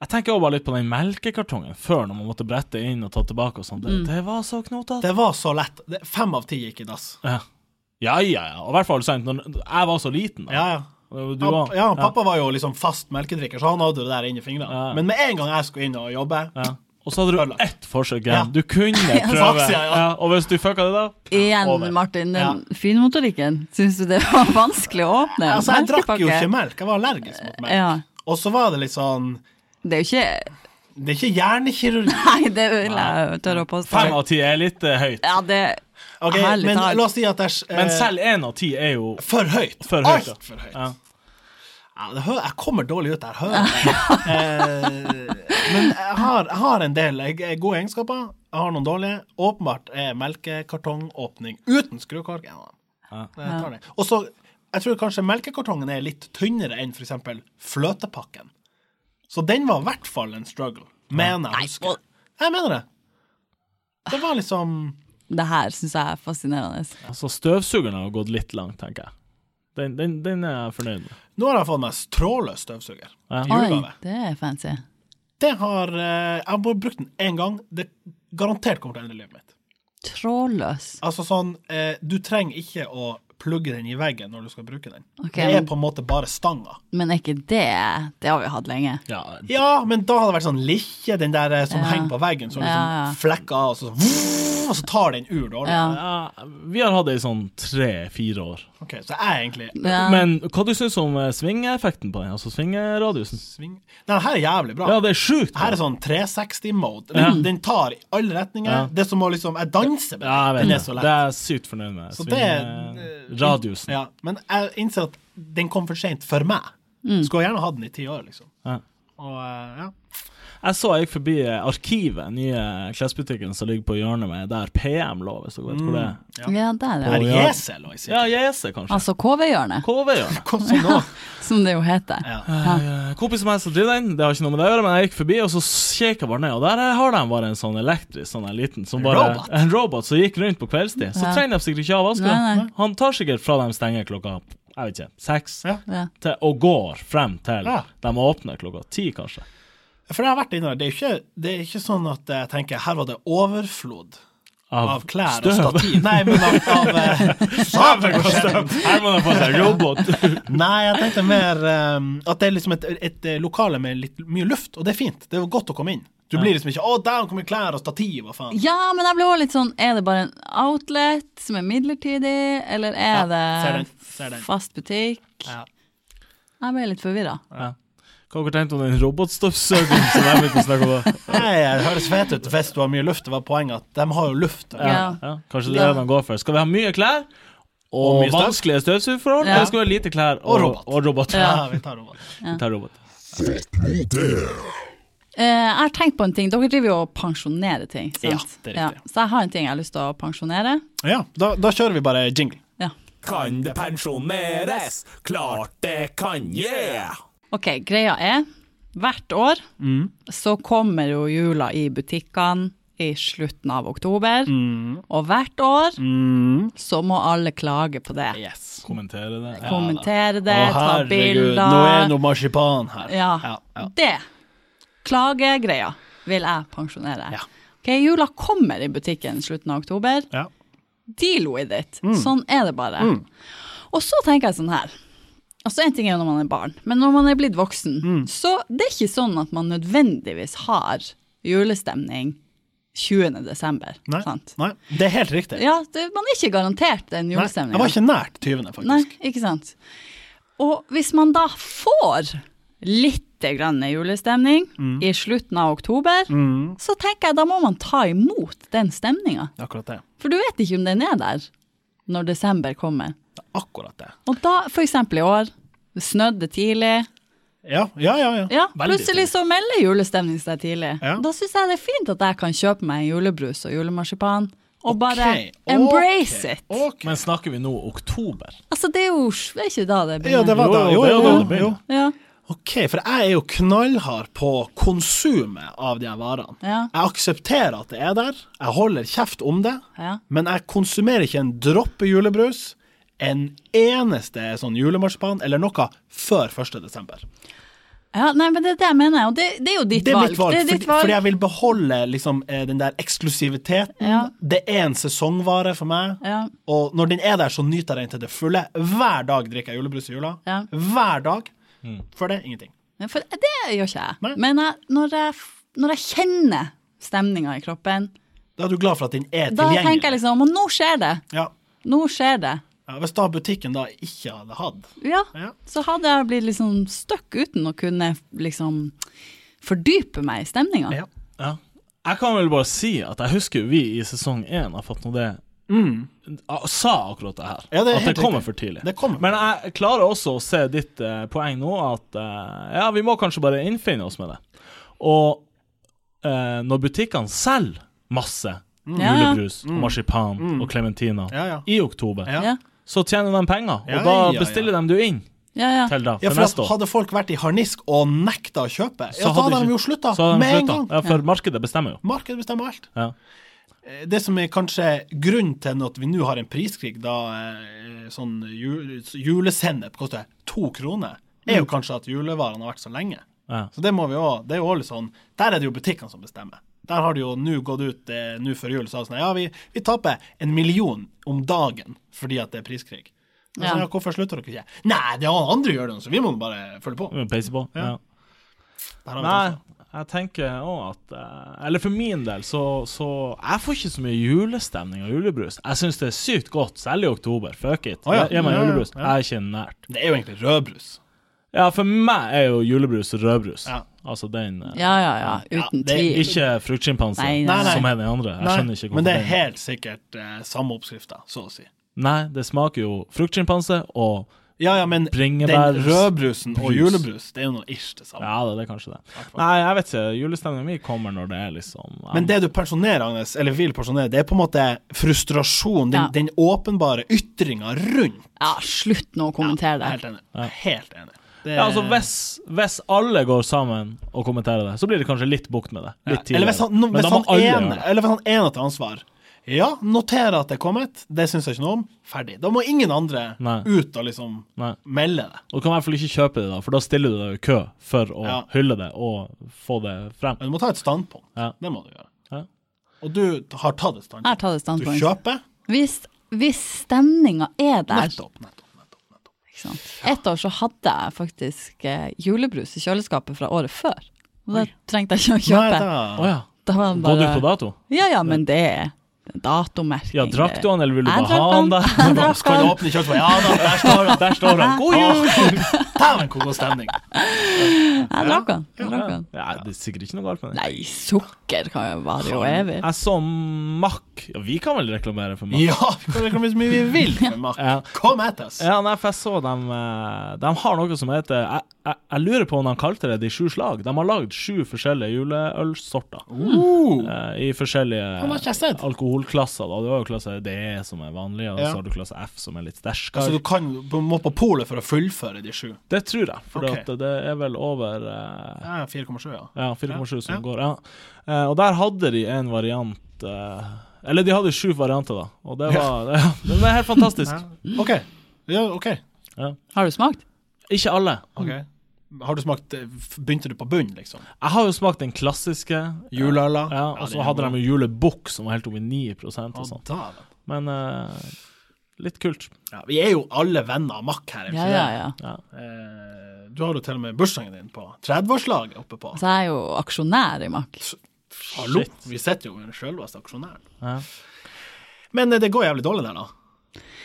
[SPEAKER 3] Jeg tenker også bare litt på den melkekartongen før, når man måtte brette inn og ta tilbake og sånn. Det, det var så knotete.
[SPEAKER 2] Mm. Det var så lett. Det, fem av ti gikk i dass.
[SPEAKER 3] Ja. ja, ja, ja. Og i hvert fall sant, når jeg var så liten. da.
[SPEAKER 2] Ja, ja.
[SPEAKER 3] Du
[SPEAKER 2] Ja,
[SPEAKER 3] var,
[SPEAKER 2] ja, pappa var jo liksom fast melkedrikker, så han hadde jo det der inni fingrene.
[SPEAKER 3] Ja.
[SPEAKER 2] Men med en gang jeg skulle inn og jobbe
[SPEAKER 3] ja. Og så hadde du
[SPEAKER 2] Ødelagt.
[SPEAKER 3] ett forsøk
[SPEAKER 2] [laughs] Ja.
[SPEAKER 3] igjen. Du kunne prøve.
[SPEAKER 2] Saksia, ja.
[SPEAKER 3] og hvis du fucka det, da?
[SPEAKER 4] Igjen,
[SPEAKER 2] over.
[SPEAKER 4] Martin, den finmotorikken. Syns du det var vanskelig å åpne?
[SPEAKER 2] Altså, jeg drakk jo
[SPEAKER 4] Melkepakke?
[SPEAKER 2] ikke melk. Jeg var allergisk mot melk.
[SPEAKER 4] Ja.
[SPEAKER 2] Og så var det litt sånn
[SPEAKER 4] Det er jo ikke
[SPEAKER 2] Det er ikke hjernekirurgi.
[SPEAKER 4] Nei, det vil jeg tørre å påstå.
[SPEAKER 3] Fem av ti er litt eh, høyt.
[SPEAKER 4] Ja, det
[SPEAKER 2] Ok,
[SPEAKER 4] Ærlig
[SPEAKER 2] men
[SPEAKER 4] talt.
[SPEAKER 2] la oss si at jeg eh,
[SPEAKER 3] Men selv én av ti er jo
[SPEAKER 2] For høyt.
[SPEAKER 3] For høyt, ja.
[SPEAKER 2] Alt for høyt.
[SPEAKER 3] Ja.
[SPEAKER 2] Ja, det hø jeg kommer dårlig ut, jeg hører det. Eh, men jeg har, jeg har en del jeg, jeg, gode egenskaper. Jeg har noen dårlige. Åpenbart er melkekartongåpning uten skrukork en av dem.
[SPEAKER 3] Ja.
[SPEAKER 2] Jeg tar det. Og så, jeg tror kanskje melkekartongen er litt tynnere enn f.eks. fløtepakken. Så den var i hvert fall en struggle, mener jeg.
[SPEAKER 4] og-
[SPEAKER 2] Husker. Jeg mener det. Det var liksom
[SPEAKER 4] Det her syns jeg er fascinerende.
[SPEAKER 3] Altså, støvsugeren har gått litt langt, tenker jeg. Den, den, den er jeg fornøyd med.
[SPEAKER 2] Nå har jeg fått meg trådløs støvsuger.
[SPEAKER 3] Ja.
[SPEAKER 2] i
[SPEAKER 4] Oi,
[SPEAKER 2] julegave.
[SPEAKER 4] det er fancy.
[SPEAKER 2] Det har eh, Jeg har bare brukt den én gang. Det garantert kommer til å endre livet mitt.
[SPEAKER 4] Trådløs.
[SPEAKER 2] Altså sånn eh, Du trenger ikke å plugge den i veggen når du skal bruke den.
[SPEAKER 4] Ok,
[SPEAKER 2] Det
[SPEAKER 4] men-
[SPEAKER 2] er på en måte bare stanga.
[SPEAKER 4] Men er ikke det Det har vi hatt lenge.
[SPEAKER 3] Ja,
[SPEAKER 2] Ja, men da hadde det vært sånn likkje, den der eh, som
[SPEAKER 4] Ja.
[SPEAKER 2] henger på veggen, som liksom
[SPEAKER 4] Ja, ja.
[SPEAKER 2] flekker av, og så, sånn, og så tar den ur dårlig.
[SPEAKER 4] Ja.
[SPEAKER 3] ja, vi har hatt det i sånn tre-fire år.
[SPEAKER 2] Ok, så jeg er egentlig
[SPEAKER 4] Ja.
[SPEAKER 3] Men hva du syns om eh, svingeeffekten på den? Altså svingeradiusen?
[SPEAKER 2] sving... Nei, her er jævlig bra.
[SPEAKER 3] Ja, det er sjukt.
[SPEAKER 2] Her er sånn 360-mode. Den, den tar i alle retninger.
[SPEAKER 3] Ja.
[SPEAKER 2] Det er som å liksom Jeg danser med
[SPEAKER 3] Ja, jeg
[SPEAKER 2] den.
[SPEAKER 3] vet
[SPEAKER 2] Den
[SPEAKER 3] det.
[SPEAKER 2] er så
[SPEAKER 3] Det
[SPEAKER 2] lett.
[SPEAKER 3] er jeg sykt fornøyd med.
[SPEAKER 2] Så det er-
[SPEAKER 3] Svingeradiusen.
[SPEAKER 2] Ja, men jeg innser at den kom for seint for meg. Skulle gjerne hatt den i ti år, liksom.
[SPEAKER 3] Ja.
[SPEAKER 2] Og eh, ja.
[SPEAKER 3] Jeg så jeg gikk forbi eh, Arkivet, nye klesbutikken som ligger på hjørnet med der PM lå, hvis dere vet hvor det
[SPEAKER 2] Mm.
[SPEAKER 3] er.
[SPEAKER 4] Ja, der,
[SPEAKER 2] Herr
[SPEAKER 4] ja.
[SPEAKER 3] ja.
[SPEAKER 2] Jesel, og jeg sier.
[SPEAKER 3] Ja, Jese, kanskje.
[SPEAKER 4] Altså KV-hjørnet,
[SPEAKER 3] KV-hjørnet.
[SPEAKER 2] Hvordan nå?
[SPEAKER 4] som det jo heter.
[SPEAKER 2] Ja.
[SPEAKER 3] Eh, Kompis som jeg som driver den, det har ikke noe med det å gjøre, men jeg gikk forbi, og så kjekket jeg bare ned, og der har de bare en sånn elektrisk sånn en liten som bare
[SPEAKER 2] Robot.
[SPEAKER 3] En robot som gikk rundt på kveldstid. Så
[SPEAKER 4] Ja.
[SPEAKER 3] trenger de sikkert ikke av
[SPEAKER 4] Nei, nei.
[SPEAKER 3] vasken. Han tar sikkert fra de stenger klokka jeg vet ikke, seks,
[SPEAKER 2] Ja.
[SPEAKER 4] Ja.
[SPEAKER 3] til, og går frem til
[SPEAKER 2] Ja.
[SPEAKER 3] de åpner klokka ti, kanskje.
[SPEAKER 2] For jeg har vært inne der. Det er jo ikke, det er ikke sånn at jeg tenker her var det overflod. av klær og stativ. Nei, men av, av eh,
[SPEAKER 3] [laughs] Av kostøv. Her må de få seg
[SPEAKER 2] [laughs]
[SPEAKER 3] robot.
[SPEAKER 2] Nei, jeg tenkte mer ehm, at det er liksom et, et eh, lokale med litt mye luft, og det er fint. Det er jo godt å komme inn. Du blir liksom ikke 'Å, der kommer klær og stativ', hva faen.
[SPEAKER 4] Ja, men jeg ble også litt sånn Er det bare en outlet som er midlertidig, eller er
[SPEAKER 2] Ja, ser den,
[SPEAKER 4] det
[SPEAKER 2] ser den.
[SPEAKER 4] fast butikk?
[SPEAKER 2] Ja.
[SPEAKER 4] Jeg ble litt forvirra.
[SPEAKER 3] Hva har dere tenkt om den robotstøvsugeren som de begynte å snakke om? da?
[SPEAKER 2] Nei, det høres fett ut hvis du har mye luft. Det var poenget at de har jo luft.
[SPEAKER 4] Ja.
[SPEAKER 3] Ja, kanskje det er det de går for. Skal vi ha mye klær og,
[SPEAKER 2] Og mye støv?
[SPEAKER 3] vanskelige støvsugerforhold,
[SPEAKER 4] Ja.
[SPEAKER 3] eller skal vi ha lite klær og,
[SPEAKER 2] Og robot.
[SPEAKER 3] Og robot?
[SPEAKER 2] Ja,
[SPEAKER 4] Ja.
[SPEAKER 2] vi tar over.
[SPEAKER 3] Vi tar robot.
[SPEAKER 4] Eh, jeg har tenkt på en ting. Dere driver jo og pensjonerer ting. Sant?
[SPEAKER 2] Ja, det er riktig.
[SPEAKER 4] Så jeg har en ting jeg har lyst til å pensjonere.
[SPEAKER 2] [laughs] Ja, da, da kjører vi bare jingle.
[SPEAKER 4] Ja.
[SPEAKER 1] Kan det pensjoneres? Klart det kan, yeah!
[SPEAKER 4] Ok, greia er hvert år
[SPEAKER 2] Mm.
[SPEAKER 4] så kommer jo jula i butikkene i slutten av oktober.
[SPEAKER 2] Mm.
[SPEAKER 4] Og hvert år så må alle klage på det.
[SPEAKER 2] Yes.
[SPEAKER 3] Kommentere det. Ja.
[SPEAKER 4] Kommentere det,
[SPEAKER 2] Å,
[SPEAKER 4] ta
[SPEAKER 2] herregud,
[SPEAKER 4] bilder.
[SPEAKER 2] nå er noe marsipan her.
[SPEAKER 4] Ja.
[SPEAKER 2] Ja, ja.
[SPEAKER 4] Det klagegreia vil jeg pensjonere.
[SPEAKER 2] Ja.
[SPEAKER 4] Ok, Jula kommer i butikken slutten av oktober.
[SPEAKER 2] Ja. Mm.
[SPEAKER 4] Deal with it. Sånn er det bare. Og så tenker jeg sånn her. Altså En ting er jo når man er barn, men når man er blitt voksen,
[SPEAKER 2] Mm.
[SPEAKER 4] så det er ikke sånn at man nødvendigvis har julestemning 20. desember.
[SPEAKER 2] Nei,
[SPEAKER 4] Sant?
[SPEAKER 2] nei, det er helt riktig.
[SPEAKER 4] Ja, det, man er ikke garantert den
[SPEAKER 2] Nei,
[SPEAKER 4] julestemninga.
[SPEAKER 2] jeg var ikke nært 20.,
[SPEAKER 4] Nei,
[SPEAKER 2] faktisk.
[SPEAKER 4] ikke sant. Og hvis man da får litt grann julestemning
[SPEAKER 2] Mm.
[SPEAKER 4] i slutten av oktober, så tenker jeg da må man ta imot den stemninga.
[SPEAKER 2] Akkurat det.
[SPEAKER 4] For du vet ikke om den er der når desember kommer.
[SPEAKER 2] Akkurat det.
[SPEAKER 4] Og da, for eksempel i år, det snødde tidlig.
[SPEAKER 2] Ja, ja, ja. ja.
[SPEAKER 4] Ja,
[SPEAKER 2] Veldig
[SPEAKER 4] plutselig så melder julestemning seg tidlig.
[SPEAKER 2] Ja.
[SPEAKER 4] Da syns jeg det er fint at jeg kan kjøpe meg en julebrus og julemarsipan, og bare
[SPEAKER 2] Ok,
[SPEAKER 4] embrace
[SPEAKER 2] ok,
[SPEAKER 4] it.
[SPEAKER 2] ok.
[SPEAKER 3] Men snakker vi nå oktober?
[SPEAKER 4] Altså, det er jo det er ikke da det
[SPEAKER 2] Ja, det
[SPEAKER 4] begynner.
[SPEAKER 2] var
[SPEAKER 3] Jo,
[SPEAKER 2] da.
[SPEAKER 3] jo,
[SPEAKER 2] Jo,
[SPEAKER 3] det
[SPEAKER 2] jo,
[SPEAKER 3] var da det
[SPEAKER 2] jo,
[SPEAKER 3] begynte.
[SPEAKER 2] jo.
[SPEAKER 4] Ja,
[SPEAKER 2] OK, for jeg er jo knallhard på konsumet av de her varene.
[SPEAKER 4] Ja.
[SPEAKER 2] Jeg aksepterer at det er der, jeg holder kjeft om det,
[SPEAKER 4] Ja.
[SPEAKER 2] men jeg konsumerer ikke en dråpe julebrus, en eneste sånn julemarsipan eller noe før 1. desember.
[SPEAKER 4] Ja, nei, men det er det jeg mener, og det, det er jo ditt
[SPEAKER 2] Det er
[SPEAKER 4] valg.
[SPEAKER 2] mitt valg,
[SPEAKER 4] Det er ditt
[SPEAKER 2] fordi,
[SPEAKER 4] valg.
[SPEAKER 2] fordi jeg vil beholde liksom, eh, den der eksklusiviteten.
[SPEAKER 4] Ja.
[SPEAKER 2] Det er en sesongvare for meg,
[SPEAKER 4] Ja.
[SPEAKER 2] og når den er der, så nyter jeg den til det fulle. Hver dag drikker jeg julebrus i jula.
[SPEAKER 4] Ja.
[SPEAKER 2] Hver dag. For det, ingenting.
[SPEAKER 4] Ja, For det gjør ikke jeg.
[SPEAKER 2] Nei.
[SPEAKER 4] Men jeg, når, jeg, f- når jeg kjenner stemninga i kroppen,
[SPEAKER 2] Da er du glad for at den er
[SPEAKER 4] da
[SPEAKER 2] tilgjengelig.
[SPEAKER 4] tenker jeg liksom Og nå skjer det!
[SPEAKER 2] ja.
[SPEAKER 4] Nå skjer det.
[SPEAKER 2] Ja, hvis da butikken da ikke hadde hatt
[SPEAKER 4] Ja.
[SPEAKER 2] Ja.
[SPEAKER 4] Så hadde jeg blitt liksom stuck uten å kunne liksom fordype meg i stemninga.
[SPEAKER 2] Ja.
[SPEAKER 3] Ja. Jeg kan vel bare si at jeg husker vi i sesong én har fått noe det Ah, Sa akkurat det her.
[SPEAKER 2] Mm. Ja, det er
[SPEAKER 3] at det
[SPEAKER 2] helt
[SPEAKER 3] kommer
[SPEAKER 2] riktig.
[SPEAKER 3] for tidlig.
[SPEAKER 2] Det kommer for
[SPEAKER 3] Men jeg klarer også å se ditt eh, poeng nå, at eh, ja, vi må kanskje bare innfinne oss med det. Og eh, når butikkene selger masse
[SPEAKER 4] Ja, ja.
[SPEAKER 3] julebrus, marsipan og klementiner
[SPEAKER 2] Mm. Ja, ja.
[SPEAKER 3] i oktober,
[SPEAKER 2] Ja.
[SPEAKER 4] Ja.
[SPEAKER 3] så tjener de penger, og
[SPEAKER 2] Ja,
[SPEAKER 3] da
[SPEAKER 2] ja, ja.
[SPEAKER 3] bestiller de du inn
[SPEAKER 4] Ja, ja.
[SPEAKER 3] til da,
[SPEAKER 2] Ja,
[SPEAKER 3] for
[SPEAKER 2] for at
[SPEAKER 3] neste år.
[SPEAKER 2] Hadde folk vært i harnisk og nekta å kjøpe, ja, så
[SPEAKER 3] du
[SPEAKER 2] hadde de
[SPEAKER 3] ikke-
[SPEAKER 2] jo slutta
[SPEAKER 3] så hadde de
[SPEAKER 2] med en
[SPEAKER 3] sluttet.
[SPEAKER 2] gang.
[SPEAKER 3] Ja, for markedet bestemmer jo.
[SPEAKER 2] Markedet bestemmer alt.
[SPEAKER 3] Ja.
[SPEAKER 2] Eh, Det som er kanskje grunnen til at vi nå har en priskrig, da eh, sånn ju- julesennep koster to kroner, er
[SPEAKER 3] Mm.
[SPEAKER 2] jo kanskje at julevarene har vært så lenge.
[SPEAKER 3] Ja.
[SPEAKER 2] Så det må vi òg. Det er jo også litt sånn Der er det jo butikkene som bestemmer. Der har det jo nå gått ut eh, nå før jul så er det sånn Ja, vi, vi taper en million om dagen fordi at det er priskrig. Men
[SPEAKER 4] Ja.
[SPEAKER 2] Så, ja, hvorfor slutter dere ikke? Nei, det er andre gjør det, så vi må bare følge på.
[SPEAKER 3] Vi må Peise på. Ja.
[SPEAKER 2] Der
[SPEAKER 3] Mm.
[SPEAKER 2] har vi
[SPEAKER 3] Nei,
[SPEAKER 2] det også.
[SPEAKER 3] jeg tenker òg at eh, Eller for min del, så, så Jeg får ikke så mye julestemning av julebrus. Jeg syns det er sykt godt, særlig i oktober. Fuck it.
[SPEAKER 2] Å ja,
[SPEAKER 3] Gi meg
[SPEAKER 2] ja, ja,
[SPEAKER 3] julebrus.
[SPEAKER 2] ja.
[SPEAKER 3] Jeg er ikke nært.
[SPEAKER 2] Det er jo egentlig rødbrus.
[SPEAKER 3] Ja, for meg er jo julebrus rødbrus.
[SPEAKER 2] Ja.
[SPEAKER 3] Altså den eh,
[SPEAKER 4] Ja, ja, ja. Uten
[SPEAKER 2] Ja, det er
[SPEAKER 4] tvil.
[SPEAKER 3] Ikke fruktsjimpanse,
[SPEAKER 4] Nei,
[SPEAKER 2] nei, nei.
[SPEAKER 3] som er den andre. Jeg skjønner ikke
[SPEAKER 2] men det er
[SPEAKER 3] den-
[SPEAKER 2] helt sikkert eh, samme oppskrifta, så å si.
[SPEAKER 3] Nei, det smaker jo fruktsjimpanse og
[SPEAKER 2] Ja, ja, men
[SPEAKER 3] Bringebær-
[SPEAKER 2] den rødbrusen og
[SPEAKER 3] brus.
[SPEAKER 2] julebrus, det er jo noe ish det samme.
[SPEAKER 3] Ja, det det er kanskje det. Nei, jeg vet ikke. Julestemningen min kommer når det er liksom ja,
[SPEAKER 2] Men det du pensjonerer, Agnes, eller vil pensjonere, det er på en måte frustrasjon, den,
[SPEAKER 4] Ja.
[SPEAKER 2] den åpenbare ytringa rundt.
[SPEAKER 4] Ja, slutt nå å kommentere
[SPEAKER 2] Jeg er
[SPEAKER 4] det.
[SPEAKER 2] Helt enig. Jeg er Helt enig. Det-
[SPEAKER 3] Ja, altså hvis, hvis alle går sammen og kommenterer det, så blir det kanskje litt bukt med det.
[SPEAKER 2] Ja,
[SPEAKER 3] Litt tidligere.
[SPEAKER 2] Eller hvis han, no,
[SPEAKER 3] Men
[SPEAKER 2] hvis
[SPEAKER 3] da må
[SPEAKER 2] han
[SPEAKER 3] alle
[SPEAKER 2] ene,
[SPEAKER 3] gjøre det.
[SPEAKER 2] eller hvis han ene tar ansvar. Ja, noterer at det er kommet, det syns jeg ikke noe om. Ferdig. Da må ingen andre
[SPEAKER 3] Nei.
[SPEAKER 2] ut og liksom
[SPEAKER 3] Nei.
[SPEAKER 2] melde det.
[SPEAKER 3] Og du kan i hvert fall ikke kjøpe det, da, for da stiller du deg i kø for å
[SPEAKER 2] Ja.
[SPEAKER 3] hylle det og få det frem.
[SPEAKER 2] Men du må ta et standpunkt.
[SPEAKER 3] Ja.
[SPEAKER 2] Det må du gjøre.
[SPEAKER 3] Ja.
[SPEAKER 2] Og du har tatt et
[SPEAKER 4] Jeg har
[SPEAKER 2] standpunkt.
[SPEAKER 4] tatt et
[SPEAKER 2] Du
[SPEAKER 4] standpunkt.
[SPEAKER 2] kjøper.
[SPEAKER 4] Hvis, hvis stemninga er der
[SPEAKER 2] Nettopp, nettopp, nettopp. nettopp.
[SPEAKER 4] ikke sant? Et år så hadde jeg faktisk eh, julebrus i kjøleskapet fra året før. Og da trengte jeg ikke å
[SPEAKER 2] Nei,
[SPEAKER 4] kjøpe.
[SPEAKER 2] da-
[SPEAKER 3] Å ja.
[SPEAKER 4] Da var det
[SPEAKER 3] Gå du på
[SPEAKER 4] bare-
[SPEAKER 3] dato?
[SPEAKER 4] Ja, ja, men det er datomerking.
[SPEAKER 3] Ja, drakk du han, eller vil du
[SPEAKER 4] Jeg
[SPEAKER 3] bare ha
[SPEAKER 4] drakk
[SPEAKER 3] han
[SPEAKER 4] han.
[SPEAKER 3] der?
[SPEAKER 2] [laughs]
[SPEAKER 4] Jeg drakk
[SPEAKER 3] Skal du
[SPEAKER 4] han.
[SPEAKER 3] åpne kjøleskapet? Ja da, der står han! Der står han. God jul!
[SPEAKER 2] Dæven, hvor god stemning!
[SPEAKER 4] Jeg drakk den. Jeg drakk den.
[SPEAKER 3] Ja, det er sikkert ikke noe galt med det.
[SPEAKER 4] Nei, sukker kan jo vare jo
[SPEAKER 3] Jeg
[SPEAKER 4] evig.
[SPEAKER 3] så Mack ja, Vi kan vel reklamere for Mack?
[SPEAKER 2] Ja, vi kan reklamere så mye vi vil for Mack.
[SPEAKER 3] Ja.
[SPEAKER 2] Kom etter oss.
[SPEAKER 3] Ja, nei, for jeg så dem eh, De har noe som heter Jeg, jeg, jeg lurer på om de kalte det De sju slag. De har lagd sju forskjellige juleølsorter eh,
[SPEAKER 2] Uh,
[SPEAKER 3] i
[SPEAKER 2] han har
[SPEAKER 3] forskjellige
[SPEAKER 2] ikke jeg sett.
[SPEAKER 3] alkoholklasser. Da. Du har jo klasse D, som er vanlig, og
[SPEAKER 2] Ja.
[SPEAKER 3] så har du klasse F, som er litt sterkere.
[SPEAKER 2] Altså, du kan, du må på polet for å fullføre de sju.
[SPEAKER 3] Det tror jeg, for
[SPEAKER 2] Ok.
[SPEAKER 3] at det er vel over eh,
[SPEAKER 2] Ja, 4,7, ja.
[SPEAKER 3] Ja, 4,7 som
[SPEAKER 2] Ja.
[SPEAKER 3] går. Ja. Eh, og der hadde de en variant eh, Eller de hadde sju varianter, da. Og det var [laughs] ja. Det var helt fantastisk.
[SPEAKER 2] OK. Ja, ok.
[SPEAKER 4] Har du smakt?
[SPEAKER 3] Ikke alle.
[SPEAKER 2] Ok. Har du smakt eh, f- Begynte du på bunnen, liksom?
[SPEAKER 3] Jeg har jo smakt den klassiske.
[SPEAKER 2] Juleøla?
[SPEAKER 3] Ja, og så hadde de jo julebukk, som var helt oppe i 9 og sånn. Men eh, litt kult.
[SPEAKER 2] ja, Vi er jo alle venner av Mack her. er vi
[SPEAKER 4] Ja,
[SPEAKER 2] ikke
[SPEAKER 4] ja,
[SPEAKER 2] det?
[SPEAKER 4] ja.
[SPEAKER 3] Ja.
[SPEAKER 2] Eh, Du har jo til og med bursdagen din på 30-årslaget oppe på.
[SPEAKER 4] Så jeg er jo aksjonær i Mack.
[SPEAKER 3] Altså,
[SPEAKER 2] Hallo,
[SPEAKER 3] shit.
[SPEAKER 2] vi sitter jo med den selveste aksjonæren.
[SPEAKER 3] Ja.
[SPEAKER 2] Men eh, det går jævlig dårlig der, da.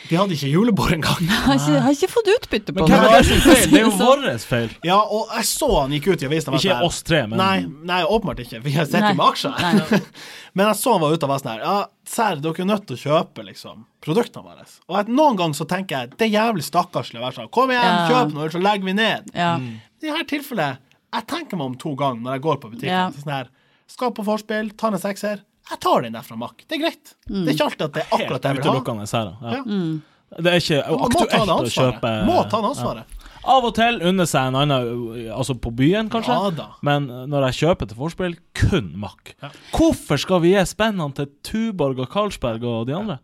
[SPEAKER 2] De hadde ikke julebord
[SPEAKER 3] [laughs]
[SPEAKER 2] engang.
[SPEAKER 4] Jeg har ikke, har ikke fått utbytte på
[SPEAKER 3] Men hvem er
[SPEAKER 4] det.
[SPEAKER 3] det sin feil? Det er jo vår feil.
[SPEAKER 2] Ja, og jeg så han gikk ut i avisen. og var
[SPEAKER 3] Ikke
[SPEAKER 2] sånn her-
[SPEAKER 3] oss tre, men
[SPEAKER 2] Nei, nei, åpenbart ikke. Vi har sett
[SPEAKER 4] Nei.
[SPEAKER 2] jo med aksjer.
[SPEAKER 4] Nei.
[SPEAKER 2] [laughs] Men jeg så han var ute og var sånn her Ja, serr, dere er nødt til å kjøpe liksom, produktene våre. Og at noen ganger så tenker jeg det er jævlig stakkarslig å være sånn Kom igjen,
[SPEAKER 4] Ja.
[SPEAKER 2] kjøp noe, ellers så legger vi ned.
[SPEAKER 4] Ja.
[SPEAKER 3] Mm.
[SPEAKER 2] I dette tilfellet jeg tenker meg om to ganger når jeg går på butikken.
[SPEAKER 4] Ja.
[SPEAKER 2] Så Sånn her, skal på vorspiel, tar en sekser. Jeg tar den der fra Mack. Det er greit.
[SPEAKER 4] Mm.
[SPEAKER 2] Det er ikke alltid at det er akkurat det jeg vil ha.
[SPEAKER 3] utelukkende her. da.
[SPEAKER 2] Ja.
[SPEAKER 3] Ja. Det er ikke
[SPEAKER 2] Man må ta
[SPEAKER 3] aktuelt
[SPEAKER 2] det
[SPEAKER 3] å
[SPEAKER 2] ansvaret.
[SPEAKER 3] kjøpe
[SPEAKER 2] Må ta det ansvaret.
[SPEAKER 3] Av og til unner seg en annen Altså på byen, kanskje.
[SPEAKER 2] Ja da.
[SPEAKER 3] Men når jeg kjøper til vorspiel, kun Mack. Hvorfor skal vi gi spennene til Tuborg og Carlsberg og de andre?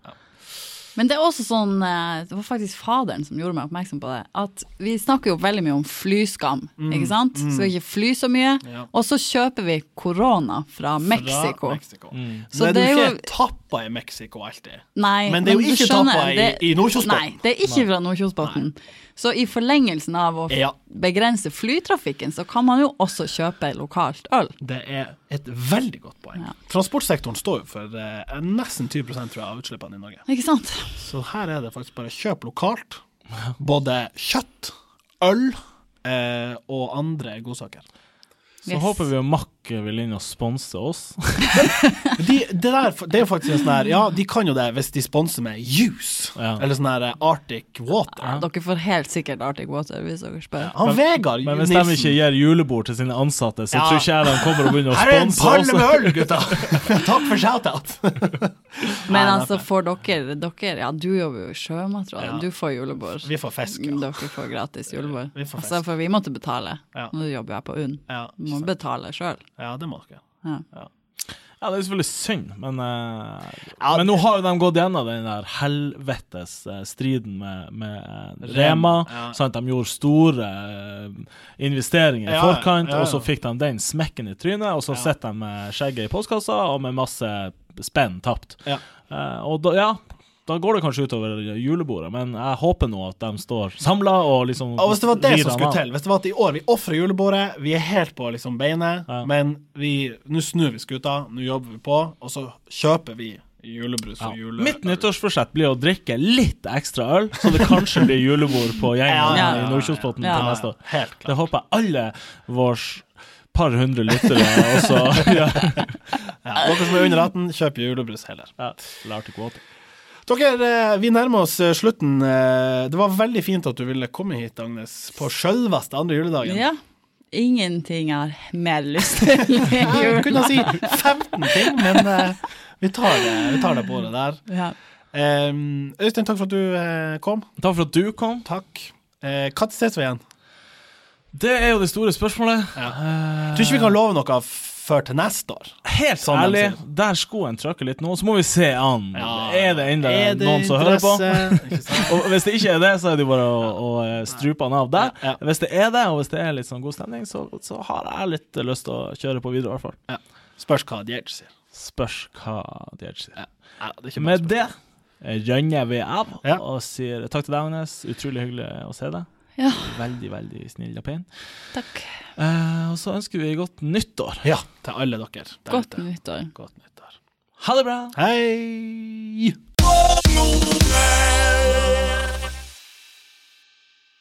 [SPEAKER 4] Men det er også sånn eh, Det var faktisk faderen som gjorde meg oppmerksom på det. At vi snakker jo veldig mye om flyskam, ikke sant? Skal ikke fly så mye.
[SPEAKER 2] Mm, Ja.
[SPEAKER 4] Og så kjøper vi korona fra Mexico.
[SPEAKER 2] Fra Mexico.
[SPEAKER 3] Mm.
[SPEAKER 4] Så
[SPEAKER 2] Men du
[SPEAKER 4] det
[SPEAKER 2] er
[SPEAKER 4] er
[SPEAKER 2] jo
[SPEAKER 4] jo-
[SPEAKER 2] ikke tappa i Mexico alltid.
[SPEAKER 4] Nei,
[SPEAKER 2] Men det er jo
[SPEAKER 4] du
[SPEAKER 2] ikke
[SPEAKER 4] skjønner,
[SPEAKER 2] tappa i-
[SPEAKER 4] det-
[SPEAKER 2] i Nordkjosbotn.
[SPEAKER 4] Nei, det er ikke fra Nordkjosbotn. Så i forlengelsen av å f-
[SPEAKER 2] Ja.
[SPEAKER 4] begrense flytrafikken, så kan man jo også kjøpe lokalt øl.
[SPEAKER 2] Det er et veldig godt poeng.
[SPEAKER 4] Ja.
[SPEAKER 2] Transportsektoren står jo for eh, nesten 20 tror jeg, av utslippene i Norge.
[SPEAKER 4] Ikke sant?
[SPEAKER 2] Så her er det faktisk bare
[SPEAKER 3] [laughs]
[SPEAKER 2] kjøp lokalt. Både kjøtt, øl eh, og andre godsaker.
[SPEAKER 3] Så
[SPEAKER 4] Yes.
[SPEAKER 3] håper vi jo Mack vil inn og sponse oss.
[SPEAKER 2] Men De, det, der, det er jo faktisk en sånn her Ja, de kan jo det hvis de sponser med juice.
[SPEAKER 3] Ja.
[SPEAKER 2] Eller sånn her eh, Arctic Water.
[SPEAKER 4] Ja, dere får helt sikkert Arctic Water hvis dere spør.
[SPEAKER 2] Han Vegard
[SPEAKER 3] Men hvis de
[SPEAKER 2] Nilsen.
[SPEAKER 3] ikke gir julebord til sine ansatte, så
[SPEAKER 2] Ja.
[SPEAKER 3] tror ikke jeg de kommer og begynner å
[SPEAKER 2] Her er en
[SPEAKER 3] sponse
[SPEAKER 2] palle
[SPEAKER 3] oss.
[SPEAKER 2] med øl, gutta! altså. [laughs] Takk for shout-out.
[SPEAKER 4] Men altså, for dere, dere Ja, du jobber jo i Sjømatrådet,
[SPEAKER 2] Ja.
[SPEAKER 4] du får julebord.
[SPEAKER 2] Vi får fisk. Ja.
[SPEAKER 4] Dere får gratis julebord.
[SPEAKER 2] Vi får
[SPEAKER 4] altså,
[SPEAKER 2] fest.
[SPEAKER 4] for vi måtte betale.
[SPEAKER 2] Ja.
[SPEAKER 4] Nå jobber jeg på UNN.
[SPEAKER 2] Ja,
[SPEAKER 4] Vi må betale sjøl.
[SPEAKER 2] ja, det må dere.
[SPEAKER 4] Ja.
[SPEAKER 3] Ja, det er selvfølgelig synd, men eh,
[SPEAKER 2] Ja,
[SPEAKER 3] Men nå har jo de gått gjennom den der helvetes eh, striden med, med eh, Rema.
[SPEAKER 2] Rema, ja.
[SPEAKER 3] Sant? De gjorde store eh, investeringer i
[SPEAKER 2] Ja,
[SPEAKER 3] forkant,
[SPEAKER 2] ja, ja.
[SPEAKER 3] og så fikk de den smekken i trynet, og så sitter de med skjegget i postkassa og med masse spenn tapt.
[SPEAKER 2] Ja.
[SPEAKER 3] Eh, og da, ja, da går det kanskje utover julebordet, men jeg håper nå at de står samla og liksom
[SPEAKER 2] Ja, hvis det var det
[SPEAKER 3] rir
[SPEAKER 2] som
[SPEAKER 3] dem
[SPEAKER 2] skulle
[SPEAKER 3] av.
[SPEAKER 2] til, hvis det var at i år vi ofrer julebordet, vi er helt på liksom beinet,
[SPEAKER 3] Ja.
[SPEAKER 2] men vi, nå snur vi skuta, nå jobber vi på, og så kjøper vi julebrus og
[SPEAKER 3] Ja.
[SPEAKER 2] jule...
[SPEAKER 3] Mitt nyttårsforsett blir å drikke litt ekstra øl, så det kanskje blir julebord på gjengen
[SPEAKER 2] Ja,
[SPEAKER 4] ja, ja,
[SPEAKER 3] i Nordkjosbotn
[SPEAKER 4] ja.
[SPEAKER 3] til neste år.
[SPEAKER 2] Helt klart.
[SPEAKER 3] Det håper jeg alle vårs par hundre lyttere også gjør.
[SPEAKER 2] Ja. Dere som er under 18, kjøper julebrus heller.
[SPEAKER 3] Ja. Lær til kvote.
[SPEAKER 2] Dere, eh, vi nærmer oss eh, slutten. Eh, Det var veldig fint at du ville komme hit, Agnes, på sjølveste andre juledagen.
[SPEAKER 4] ja. Ingenting jeg har mer lyst
[SPEAKER 2] [laughs]
[SPEAKER 4] til i
[SPEAKER 2] Jeg
[SPEAKER 4] jul.
[SPEAKER 2] kunne si 15 ting, men eh, vi tar det, vi tar det på det der.
[SPEAKER 4] Ja.
[SPEAKER 2] Eh, Øystein, takk for at du eh, kom.
[SPEAKER 3] Takk for at du kom.
[SPEAKER 2] Takk. Eh, Når ses vi igjen?
[SPEAKER 3] Det er jo det store spørsmålet.
[SPEAKER 2] Jeg tror ikke vi kan love noe f- før til neste år.
[SPEAKER 3] Helt
[SPEAKER 2] Sånn de
[SPEAKER 3] ærlig,
[SPEAKER 2] sier.
[SPEAKER 3] der skoen trykker litt nå, så må vi se an. Er det ennå
[SPEAKER 2] Er Eh, det
[SPEAKER 3] noen som hører på?
[SPEAKER 2] interesse?
[SPEAKER 3] [laughs]
[SPEAKER 2] Ikke sant?
[SPEAKER 3] Og hvis det ikke er det, så er det jo bare å, å eh, strupe han av der.
[SPEAKER 2] Ja, ja.
[SPEAKER 3] Hvis det er det, og hvis det er litt sånn god stemning, så, så har jeg litt lyst til å kjøre på videre, i hvert fall.
[SPEAKER 2] Ja. Spørs hva Djerch sier.
[SPEAKER 3] Spørs hva de ellers sier.
[SPEAKER 2] Ja, det er ikke
[SPEAKER 3] Med det runder vi av
[SPEAKER 2] Ja.
[SPEAKER 3] og sier takk til deg, Agnes. Utrolig hyggelig å se deg.
[SPEAKER 4] Ja,
[SPEAKER 3] Veldig, veldig snill og pen.
[SPEAKER 4] takk.
[SPEAKER 3] Eh, og så ønsker vi godt nyttår.
[SPEAKER 2] Ja, til alle dere. der
[SPEAKER 4] Godt
[SPEAKER 2] ute.
[SPEAKER 4] nyttår.
[SPEAKER 2] Godt nyttår.
[SPEAKER 3] Ha det bra!
[SPEAKER 2] Hei!
[SPEAKER 1] Norden!